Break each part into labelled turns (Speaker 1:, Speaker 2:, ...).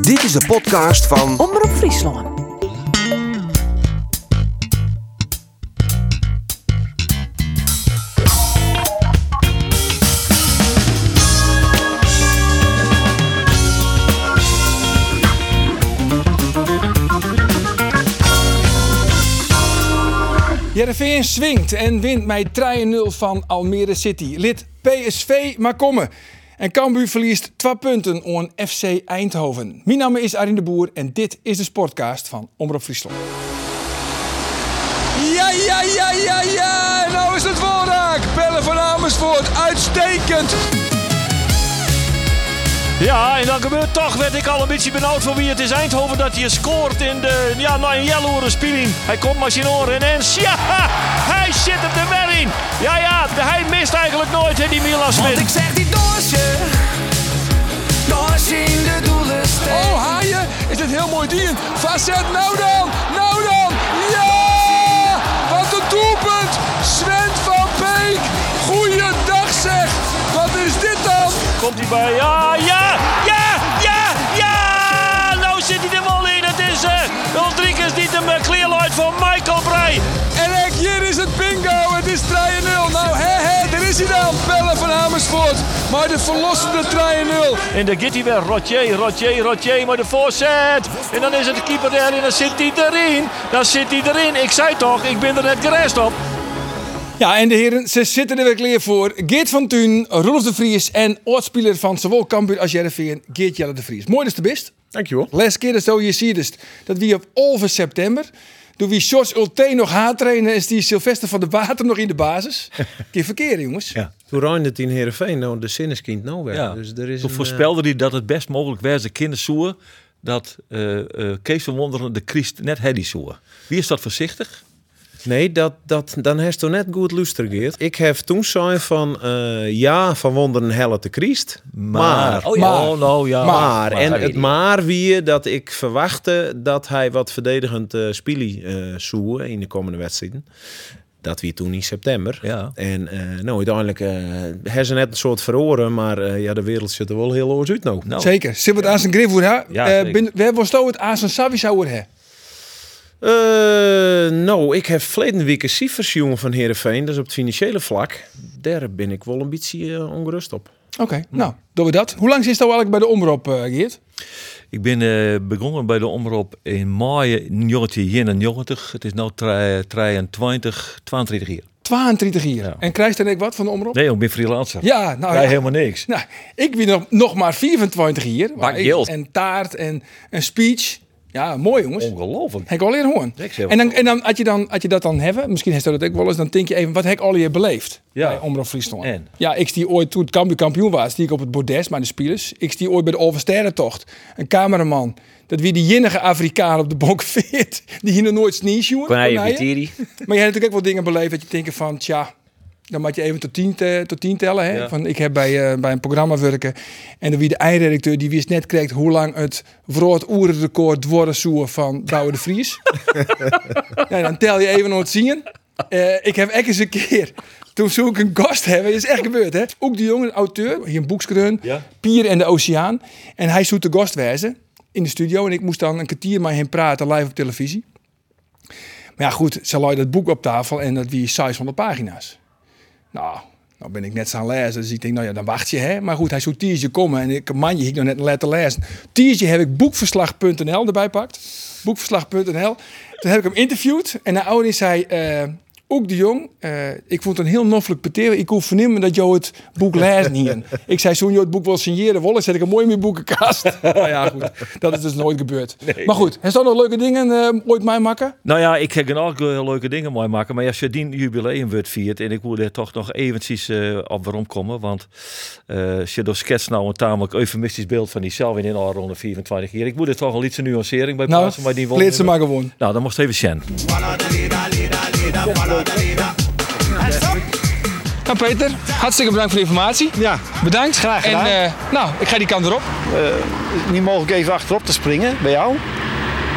Speaker 1: Dit is de podcast van
Speaker 2: Omroep Friesland.
Speaker 3: Jereveen swingt en wint met 3-0 van Almere City. Lid PSV maar komen. En Cambuur verliest twee punten aan FC Eindhoven. Mijn naam is Arjen de Boer en dit is de Sportcast van Omroep Friesland. Ja, ja, ja, ja, ja! Nou is het voorraak! Bellen van Amersfoort, uitstekend!
Speaker 4: Ja, en dan gebeurt toch, werd ik al een beetje benauwd voor wie het is. Eindhoven dat hij scoort in de, ja, nou een jaloere speling. Hij komt maar zijn oren in en ja, hij zit er weer in. Ja, ja, de- hij mist eigenlijk nooit, hè, die Milan Smit.
Speaker 5: Ik zeg die doosje, doosje in de doelen steekt.
Speaker 3: Oh, haaien! Is dit heel mooi dien? Facet, nou dan! Nou dan! Ja! Wat een doelpunt! Sven van Beek! Goeiedag zeg! Wat is dit dan?
Speaker 4: Komt hij bij, ja, ja, ja, ja, ja! Nou zit hij er wel in, het is uh, Rodriguez die hem uh, kleerlooit voor Michael Breij.
Speaker 3: En Henk, hier is het bingo! Het is 3-0! Nou, hè, hè, daar is hij dan! Pelle van Amersfoort! Maar de verlossende 3-0!
Speaker 4: En daar gaat hij weer. Rotje, Rotje, Rotje. Maar de voorzet. En dan is het de keeper erin. En dan zit hij erin. Dan zit hij erin. Ik zei toch, ik ben er net gerest op.
Speaker 3: Ja, en de heren, ze zitten er weer klaar voor. Geert van Thun, Rolf de Vries en oortspeler van zowel Cambuur als Jereveen, Geert Jelle de Vries. Mooi dat je er best.
Speaker 6: Dankjewel.
Speaker 3: Les keer zo je ziet het. Dat wie op 11 september. Door wie George Ulte nog haat trainen, is die Sylvester van de Water nog in de basis. Keer verkeer, jongens.
Speaker 6: Ja. Toen ruimde het in Heerenveen nou de zinneskind nou weg.
Speaker 7: Ja.
Speaker 6: Dus er is
Speaker 7: Toen
Speaker 6: een,
Speaker 7: voorspelde hij dat het best mogelijk was de kindersoer dat eh, eh, Kees van Wonderen de Christ net Hedy soer. Wie is dat voorzichtig?
Speaker 6: eh, nee, dat, dat, dan heeft toen net goed luisterd. Ik heb toen zijn van eh, ja, van wonderen helle te Christ. Maar.
Speaker 7: oh,
Speaker 3: Maar.
Speaker 7: ja. oh nou ja.
Speaker 3: Maar.
Speaker 6: Maar, en het maar wie dat ik verwachtte dat hij wat verdedigend eh spielie eh zou in de komende wedstrijden. Dat wie toen in september.
Speaker 7: Ja.
Speaker 6: En eh, nou, uiteindelijk eh hebben ze net een soort veroren, maar eh, ja, de wereld zit er wel heel oors uit nou.
Speaker 7: Nou,
Speaker 3: Oh. Zeker. Zit het aan zijn grif voor, hè? Eh,
Speaker 7: Ja, zeker.
Speaker 3: bin- We hebben zo het aan zijn Savi zou het hè.
Speaker 6: Eh, nou, ik heb verleden week een cijfers jongen van Heerenveen. Dus op het financiële vlak, daar ben ik wel een beetje eh, ongerust op.
Speaker 3: Oké, nou, doen we dat. Hoe lang zit dat eigenlijk bij de omroep, eh, Geert?
Speaker 7: ik ben eh, begonnen bij de omroep in mei 1991. Het is nu 23, 32 jaar.
Speaker 3: 32 hier.
Speaker 7: Ja.
Speaker 3: En krijgt dan ik wat van de omroep?
Speaker 7: Nee, ik ben freelancer.
Speaker 3: Ja, nou
Speaker 7: Wij
Speaker 3: ja.
Speaker 7: helemaal niks.
Speaker 3: Nou, ik ben nog, nog maar 24 hier. Maar ik-
Speaker 7: geld.
Speaker 3: En taart en een speech. Ja, mooi jongens.
Speaker 7: Ongelooflijk.
Speaker 3: Hek Ollie en Hoorn.
Speaker 7: Ik zeg
Speaker 3: En, dan, en dan, als, je dan, als je dat dan hebben, misschien heeft dat ook wel eens, dan denk je even wat Hek Ollie heeft beleefd
Speaker 7: Ja.
Speaker 3: bij Omroep Friesland.
Speaker 7: En?
Speaker 3: Ja, ik die ooit toen het Cambuur kampioen was, die ik op het bordes, maar de spelers. Ik die ooit bij de Oversterrentocht, een cameraman. Dat wie die jinnige Afrikaan op de bonk veert, die hier nog nooit sneesjoen. Maar je hebt natuurlijk ook wel dingen beleefd dat je denkt van, tja, dan moet je even tot tien, te- tot tien tellen. Hè?
Speaker 7: Ja.
Speaker 3: Van, ik heb bij, eh, bij een programma werken en dan wie de eindredacteur, die wist net krijgt hoe lang het vrood oerenrecord worden zoer van Douwe de Vries. ja, dan tel je even nooit zien. Eh, ik heb echt eens een keer, toen zoek ik een gast hebben, is echt gebeurd hè. Ook de jongen, auteur, hier een boekskreun,
Speaker 7: Ja.
Speaker 3: Pier en de Oceaan. En hij zoet de gast wijzen in de studio en ik moest dan een kwartier met hem praten live op televisie. Maar ja, goed, ze laai dat boek op tafel en dat wie size van de pagina's. Nou, nou ben ik net aan lezen, dus ik denk, nou ja, dan wacht je hè. Maar goed, hij zou tiertje komen en ik, manje, ik nog net een letter lezen. Tiertje heb ik boekverslag.nl erbij gepakt. Boekverslag.nl. Toen heb ik hem interviewd en de oude zei, eh, ook de jong, eh, ik vond het een heel noffelijk peteer. Ik hoef vernemen dat jou het boek lezen hier. ik zei, zoen je het boek wil signeren, wollen, zet ik hem mooi in mijn boekenkast. nou ja, goed, dat is dus nooit gebeurd. Maar goed, er staan nog leuke dingen eh, ooit mij makken.
Speaker 7: Nou ja, ik heb ook eh, leuke dingen mooi maken. Maar als je die jubileum wordt viert. En ik wil er toch nog eventjes eh, op waarom komen. Want eh je door schets nou een tamelijk eufemistisch beeld van diezelf in al ronde 24 jaar. Ik moet er toch een ietsje nuancering bij
Speaker 3: Nou,
Speaker 7: plaatsen. maar die won-
Speaker 3: leed ze maar gewoon.
Speaker 7: Nou, dan moest even Shen.
Speaker 3: Nou Peter, hartstikke bedankt voor de informatie.
Speaker 8: Ja,
Speaker 3: Bedankt. Graag
Speaker 8: gedaan. Eh,
Speaker 3: En eh, nou, ik ga die kant erop.
Speaker 8: niet mogelijk even achterop te springen bij jou.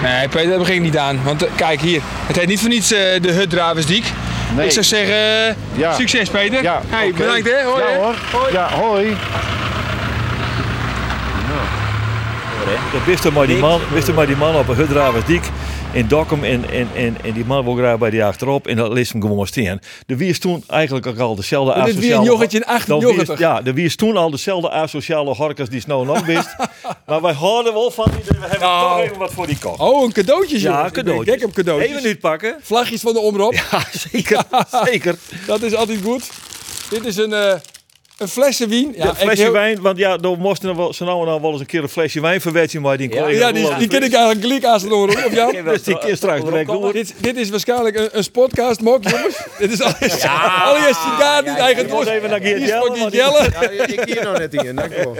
Speaker 3: Nee Peter, daar begin ik niet aan. Want eh, kijk hier, het heet niet voor niets eh, de Hutdraversdiek.
Speaker 8: Nee.
Speaker 3: Ik zou zeggen, eh,
Speaker 8: Ja.
Speaker 3: succes Peter.
Speaker 8: Ja,
Speaker 3: hey,
Speaker 8: oké.
Speaker 3: bedankt hè. Hoi,
Speaker 8: ja
Speaker 3: hè.
Speaker 8: hoor.
Speaker 3: Hoi.
Speaker 8: Ja, hoi.
Speaker 7: hè. Dat wist er maar die man, wist er maar die man op een Hudraversdiek in Dokkum. En, en, en, en die man wil graag bij die achterop. En dat leest hem gewoon staan. De wiers toen eigenlijk ook al dezelfde
Speaker 3: dit
Speaker 7: asociale...
Speaker 3: weer een joggetje in 98.
Speaker 7: Dan wiers- Ja, de wiers toen al dezelfde asociale horkers die Snow nog wist. maar wij houden wel van die. dus We hebben
Speaker 3: Nou.
Speaker 7: toch even wat voor die kocht.
Speaker 3: Oh, een cadeautje,
Speaker 7: ja, cadeautjes.
Speaker 3: Kijk hem cadeautjes.
Speaker 7: Even niet pakken.
Speaker 3: Vlagjes van de omroep.
Speaker 7: Ja, zeker. Zeker.
Speaker 3: Dat is altijd goed. Dit is een, eh een flesje wien.
Speaker 7: Ja,
Speaker 3: ik
Speaker 7: flesje
Speaker 3: heel-
Speaker 7: wijn, want ja, dan moesten we wel- ze nou en dan wel eens een keer een flesje wijn verwetsen, maar die
Speaker 6: Ja,
Speaker 7: collega
Speaker 3: Ja, die, die ken ik eigenlijk gelijk aan zijn oren. Of jou?
Speaker 7: Dus die keer straks direct door.
Speaker 3: Dit, dit is waarschijnlijk een, een podcast mok, jongens. dit is alles. Allereerst sigaar niet eigen
Speaker 7: Ik was
Speaker 3: dorst.
Speaker 7: even naar Geert
Speaker 3: Hier is
Speaker 7: Jelle.
Speaker 3: van die
Speaker 7: maar die-
Speaker 3: Jelle.
Speaker 6: ik hier nog net in, dankjewel.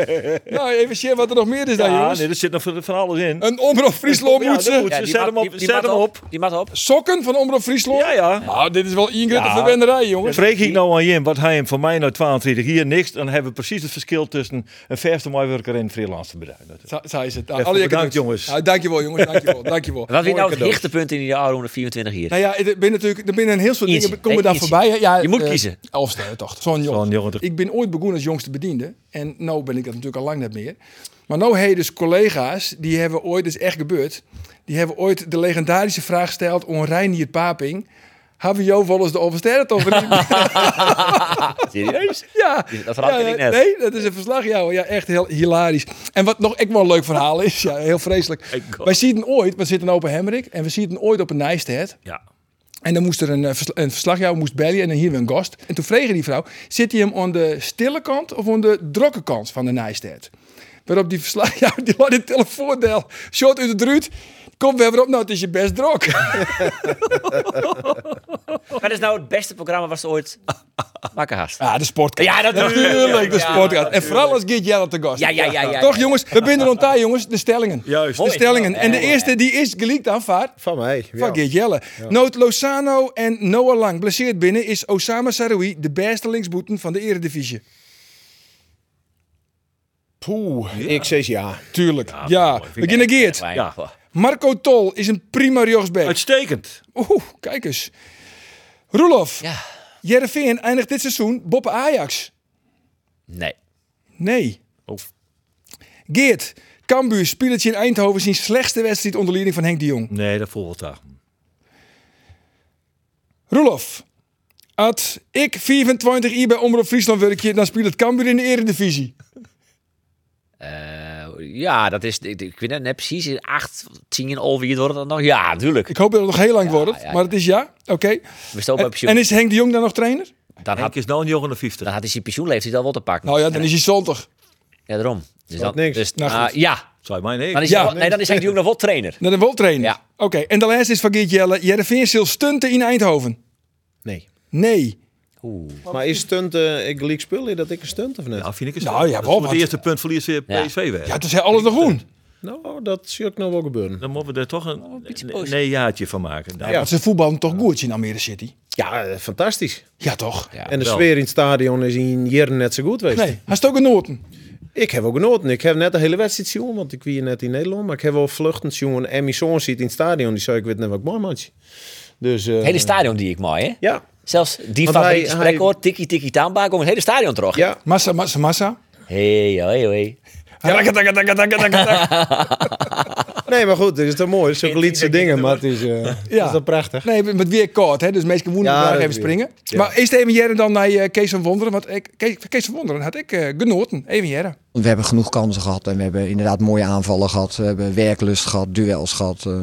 Speaker 3: Nou, even zien wat er nog meer is dan,
Speaker 7: Ja,
Speaker 3: jongens.
Speaker 7: nee, er zit nog van van alles in.
Speaker 3: Een Omroep Friesland
Speaker 7: Ja, dat
Speaker 3: moetsen.
Speaker 7: moet.
Speaker 1: Ja,
Speaker 7: Ze
Speaker 1: die
Speaker 7: zet
Speaker 1: mat-
Speaker 7: hem op,
Speaker 1: die- die
Speaker 7: zet
Speaker 1: mat
Speaker 7: hem op.
Speaker 1: Die mat op.
Speaker 3: Sokken van Omroep Friesland.
Speaker 7: Ja, ja.
Speaker 3: Nou, dit is wel Ingrid
Speaker 7: Ja.
Speaker 3: ja. verwenderij, jongens.
Speaker 7: Vreeg ik nou aan Jim, wat hij hem van mij nou 22 hier niks, dan hebben we precies het verschil tussen een verste mooiwerker en een freelancer bedrijf.
Speaker 3: Zo zo is het. Nou,
Speaker 7: Even
Speaker 3: alle
Speaker 7: bedankt,
Speaker 3: jackets.
Speaker 7: jongens.
Speaker 3: Nou, dankjewel, jongens. Dankjewel. dankjewel.
Speaker 1: Wat vind je nou het
Speaker 3: Mooi
Speaker 1: hichtepunt in die jaren 24 hier?
Speaker 3: Nou ja, het- er ben natuurlijk, er binnen een heel soort
Speaker 1: Eentje.
Speaker 3: dingen komen
Speaker 1: Nee,
Speaker 3: daar
Speaker 1: eentje.
Speaker 3: voorbij. hè. Ja,
Speaker 1: Je moet
Speaker 3: eh,
Speaker 1: kiezen.
Speaker 3: Elfsteden toch? Zo'n jongen.
Speaker 7: Zo'n jongen toch.
Speaker 3: Ik ben ooit begonnen als jongste bediende. En nou ben ik dat natuurlijk al lang niet meer. Maar nou heet dus collega's, die hebben ooit, dat is echt gebeurd. Die hebben ooit de legendarische vraag gesteld aan Reinier Paping. Hebben jou wel eens de Elfsteden toch verdiend?
Speaker 1: Serieus?
Speaker 3: Ja,
Speaker 1: Dat verhaal
Speaker 3: ja,
Speaker 1: ken ik
Speaker 3: ja,
Speaker 1: net.
Speaker 3: Nee, dat is een verslag. Ja, hoor. ja echt heel hilarisch. En wat nog echt wel een leuk verhaal is, ja, heel vreselijk. Wij zien ooit, we zitten nou open Hemrik en we zien ooit op een Nijstead.
Speaker 7: Ja.
Speaker 3: En dan moest er een, eh, vers- een verslagjouwer moest bellen en dan hier weer een gast. En toen vroeg die vrouw, zit hij hem aan de stille kant of aan de drokke kant van de Nijstead? Waarop die verslagjouwer, die laat het telefoondel, shot uit de ruut. Kom weer weer op, nou het is je best drok.
Speaker 1: Wat is nou het beste programma was ooit maken haast?
Speaker 3: Ja, Ah, de sportkast.
Speaker 1: Ja, dat-
Speaker 3: natuurlijk, de
Speaker 1: Ja,
Speaker 3: sportkast. en vooral als Geert Jelle te gast.
Speaker 1: Ja, ja, ja, ja,
Speaker 3: Toch
Speaker 1: ja.
Speaker 3: jongens, we binden rond daar jongens, de stellingen.
Speaker 7: Juist.
Speaker 3: De
Speaker 1: Mooi.
Speaker 3: stellingen. En de
Speaker 1: Ja, ja,
Speaker 3: eerste, die is geliekt aanvaard.
Speaker 6: Van mij. ja.
Speaker 3: Van Geert Jelle. Noot Lozano en Noah Lang. Blesseerd binnen is Osama Saroui de beste linksboeten van de eredivisie.
Speaker 6: Poeh, ik zeg ja.
Speaker 3: Tuurlijk. Ja, beginnen Geert.
Speaker 1: Ja.
Speaker 3: Marco Tol is een prima rechtsback.
Speaker 7: Uitstekend.
Speaker 3: Oeh, kijk eens. Roelof.
Speaker 1: Ja.
Speaker 3: Jereveen eindigt dit seizoen boppen Ajax.
Speaker 1: Nee.
Speaker 3: Nee. Geert. Cambuur, spielertje in Eindhoven, zijn slechtste wedstrijd onder leiding van Henk de Jong.
Speaker 7: Nee, dat volgt daar.
Speaker 3: Roelof. Ad ik 24 uur bij Omroep Friesland werkje, dan speelt het Cambuur in de eredivisie.
Speaker 1: Eh, ja, dat is. Ik, ik weet het net precies. Acht, tien over hier wordt dat nog. Ja, natuurlijk.
Speaker 3: Ik hoop dat het nog heel lang wordt,
Speaker 1: ja, ja.
Speaker 3: maar het is ja. Oké.
Speaker 1: We stoppen bij
Speaker 3: En,
Speaker 1: pensioen.
Speaker 3: is Henk de Jong dan nog trainer?
Speaker 1: Dan had,
Speaker 7: Henk is nou een jongen of 50.
Speaker 1: dan had hij zijn pensioenleeftijd al wel te pakken.
Speaker 3: Nou ja, dan is hij zondag.
Speaker 1: Ja, daarom. Dus dan,
Speaker 6: niks.
Speaker 1: Dus,
Speaker 3: Nou,
Speaker 1: ah,
Speaker 3: goed.
Speaker 1: ja,
Speaker 7: Zou je mij nee?
Speaker 1: dan is,
Speaker 3: Ja,
Speaker 1: hij, wel- nee, dan is hij natuurlijk nog wel trainer.
Speaker 3: Dan wel trainer.
Speaker 1: Ja.
Speaker 3: Oké. En de laatste is van Geert Jelle. Jereveen zil stunten in Eindhoven.
Speaker 6: Nee.
Speaker 3: Nee.
Speaker 6: Maar is stunt, eh ik leak spul in dat ik een stunt of net?
Speaker 7: Ja, vind ik het
Speaker 3: Nou,
Speaker 7: zo.
Speaker 3: ja,
Speaker 7: Dat is
Speaker 3: wel,
Speaker 7: voor het
Speaker 3: want-
Speaker 7: eerste punt verlies weer
Speaker 1: Ja.
Speaker 7: PSV weg.
Speaker 3: Ja, het is alles nog groen.
Speaker 6: Nou, dat zie ik nou wel gebeuren.
Speaker 7: Dan moeten we er toch een,
Speaker 1: beetje
Speaker 7: een,
Speaker 1: positief.
Speaker 7: een jaartje van maken. Nou,
Speaker 6: Ja.
Speaker 3: Want ze voetballen toch goed in Almere City?
Speaker 6: Ja, eh, fantastisch.
Speaker 3: Ja, toch?
Speaker 1: Ja,
Speaker 6: en de
Speaker 7: wel.
Speaker 6: sfeer in het stadion is in jaren net zo goed geweest.
Speaker 3: Nee, hij is ook een Noorten.
Speaker 6: Ik heb ook genoten. Ik heb net de hele wedstrijd zien, want ik was hier net in Nederland. Maar ik heb wel vluchtend zien. En mijn zoon zit in het stadion. Die zei, ik weet net wat ik mooi match. Dus, eh,
Speaker 1: Het hele stadion die ik mooi, hè?
Speaker 6: Ja,
Speaker 1: Zelfs die
Speaker 6: Want
Speaker 1: favoriete
Speaker 6: hij-
Speaker 1: gesprek
Speaker 6: hij-
Speaker 1: hoor. Tiki tiki tamba. Kom het hele stadion terug.
Speaker 6: ja.
Speaker 3: Massa, massa, massa.
Speaker 1: Hey, hoi, hoi.
Speaker 3: Takka, takka, takka, takka, takka, takka.
Speaker 6: Nee, maar goed, het is toch mooi. Zulke liedse dingen, maar het is, eh,
Speaker 3: Ja.
Speaker 6: is toch prachtig.
Speaker 3: Nee, met weer koud, hè? dus mensen woensdag
Speaker 6: Ja, dat
Speaker 3: even
Speaker 6: is weer.
Speaker 3: springen. Maar eerst even Jeren dan naar eh, Kees van Wonderen. Want ik, Kees, Kees van Wonderen had ik eh, genoten. Even Jeren.
Speaker 2: We hebben genoeg kansen gehad en we hebben inderdaad mooie aanvallen gehad. We hebben werklust gehad, duels gehad. eh,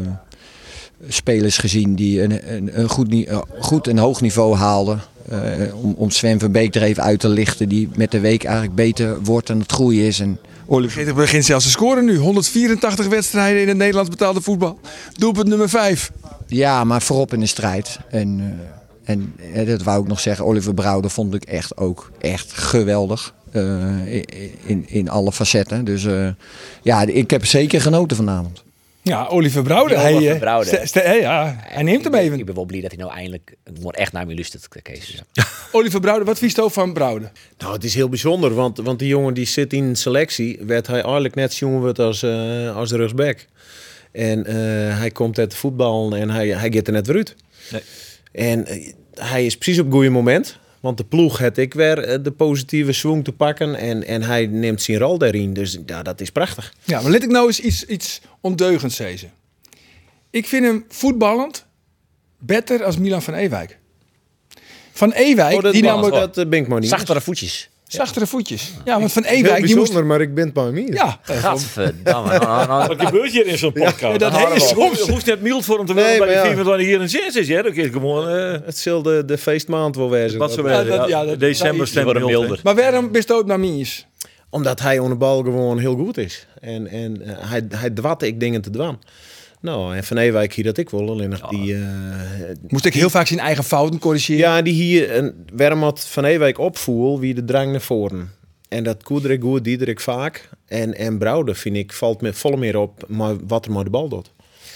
Speaker 2: spelers gezien die een, een, een goed, ni- eh, goed en hoog niveau haalden. Eh, om, om Sven van Beek er even uit te lichten, die met de week eigenlijk beter wordt en het groeien is. En
Speaker 3: Geert begint zelfs te scoren nu. 184 wedstrijden in het Nederlands betaalde voetbal. Doelpunt nummer 5.
Speaker 2: Ja, maar voorop in de strijd. En, eh, en eh, dat wou ik nog zeggen, Oliver Brouwer vond ik echt ook echt geweldig. eh, in, in alle facetten. Dus eh, ja, ik heb zeker genoten vanavond.
Speaker 3: Ja, Oliver Brouwde.
Speaker 1: Oliver
Speaker 3: hij, eh,
Speaker 1: Brouwde.
Speaker 3: ste- ste- hè, ja, hij neemt hem
Speaker 1: Ik ben- Ik
Speaker 3: even.
Speaker 1: ben wel blij dat hij nou eindelijk gewoon echt naar me luistert, Kees. Ja.
Speaker 3: Oliver Brouwde, wat vies ook van Brouwde?
Speaker 6: Nou, het is heel bijzonder, want, want die jongen die zit in selectie, werd hij eigenlijk net zien wordt als, eh als rechtsback. En eh, hij komt uit de voetbal en hij, hij gaat er net weer uit.
Speaker 7: Nee.
Speaker 6: En eh, hij is precies op het goede moment. Want de ploeg had ik weer eh, de positieve swing te pakken. En, en hij neemt zijn rol daarin. Dus ja, dat is prachtig.
Speaker 3: Ja, maar let ik nou eens iets, iets ondeugends zeggen. Ik vind hem voetballend beter als Milan van Ewijk. Van Ewijk,
Speaker 6: Oh, dat
Speaker 3: die
Speaker 6: was-
Speaker 3: namelijk
Speaker 6: dat eh, ben ik maar niet.
Speaker 1: Zachtere voetjes.
Speaker 3: zachtere voetjes. Ja, want van
Speaker 9: Heel
Speaker 3: Ewijk, die
Speaker 9: bijzonder,
Speaker 3: moest...
Speaker 9: maar ik ben het bij mij.
Speaker 3: Ja,
Speaker 1: Gadverdamme. Nou, nou, nou.
Speaker 7: Wat gebeurt hier in zo'n podcast?
Speaker 3: dat
Speaker 7: Nou,
Speaker 3: hele
Speaker 7: hoef-
Speaker 3: soms.
Speaker 7: hoeft net mild voor hem te worden
Speaker 9: Nee,
Speaker 7: bij
Speaker 9: maar ja.
Speaker 7: de van hier in zin is. Ja, dat is gewoon eh,
Speaker 6: Het zal de, de feestmaand wel wezen.
Speaker 7: wat zo
Speaker 3: Ja,
Speaker 7: wel.
Speaker 3: dat- ja,
Speaker 7: ja.
Speaker 3: dat- dat
Speaker 7: December
Speaker 3: is-
Speaker 7: stemt
Speaker 1: Die worden milder.
Speaker 3: Maar waarom bist ook naar Mies?
Speaker 6: Omdat hij onder de bal gewoon heel goed is. En, en eh, hij, hij dwatte ik dingen te dwan. Nou, en Van Ewijk hier dat ik wel. Alleen nog die... eh,
Speaker 3: Moest ik heel vaak zijn eigen fouten corrigeren.
Speaker 6: Ja, die hier een Wermat van Ewijk opvoel, wie de drang naar voren. En dat koeder ik goed, Diederik vaak. En, en Brouwde, vind ik, valt me volle meer op maar wat er maar de bal doet.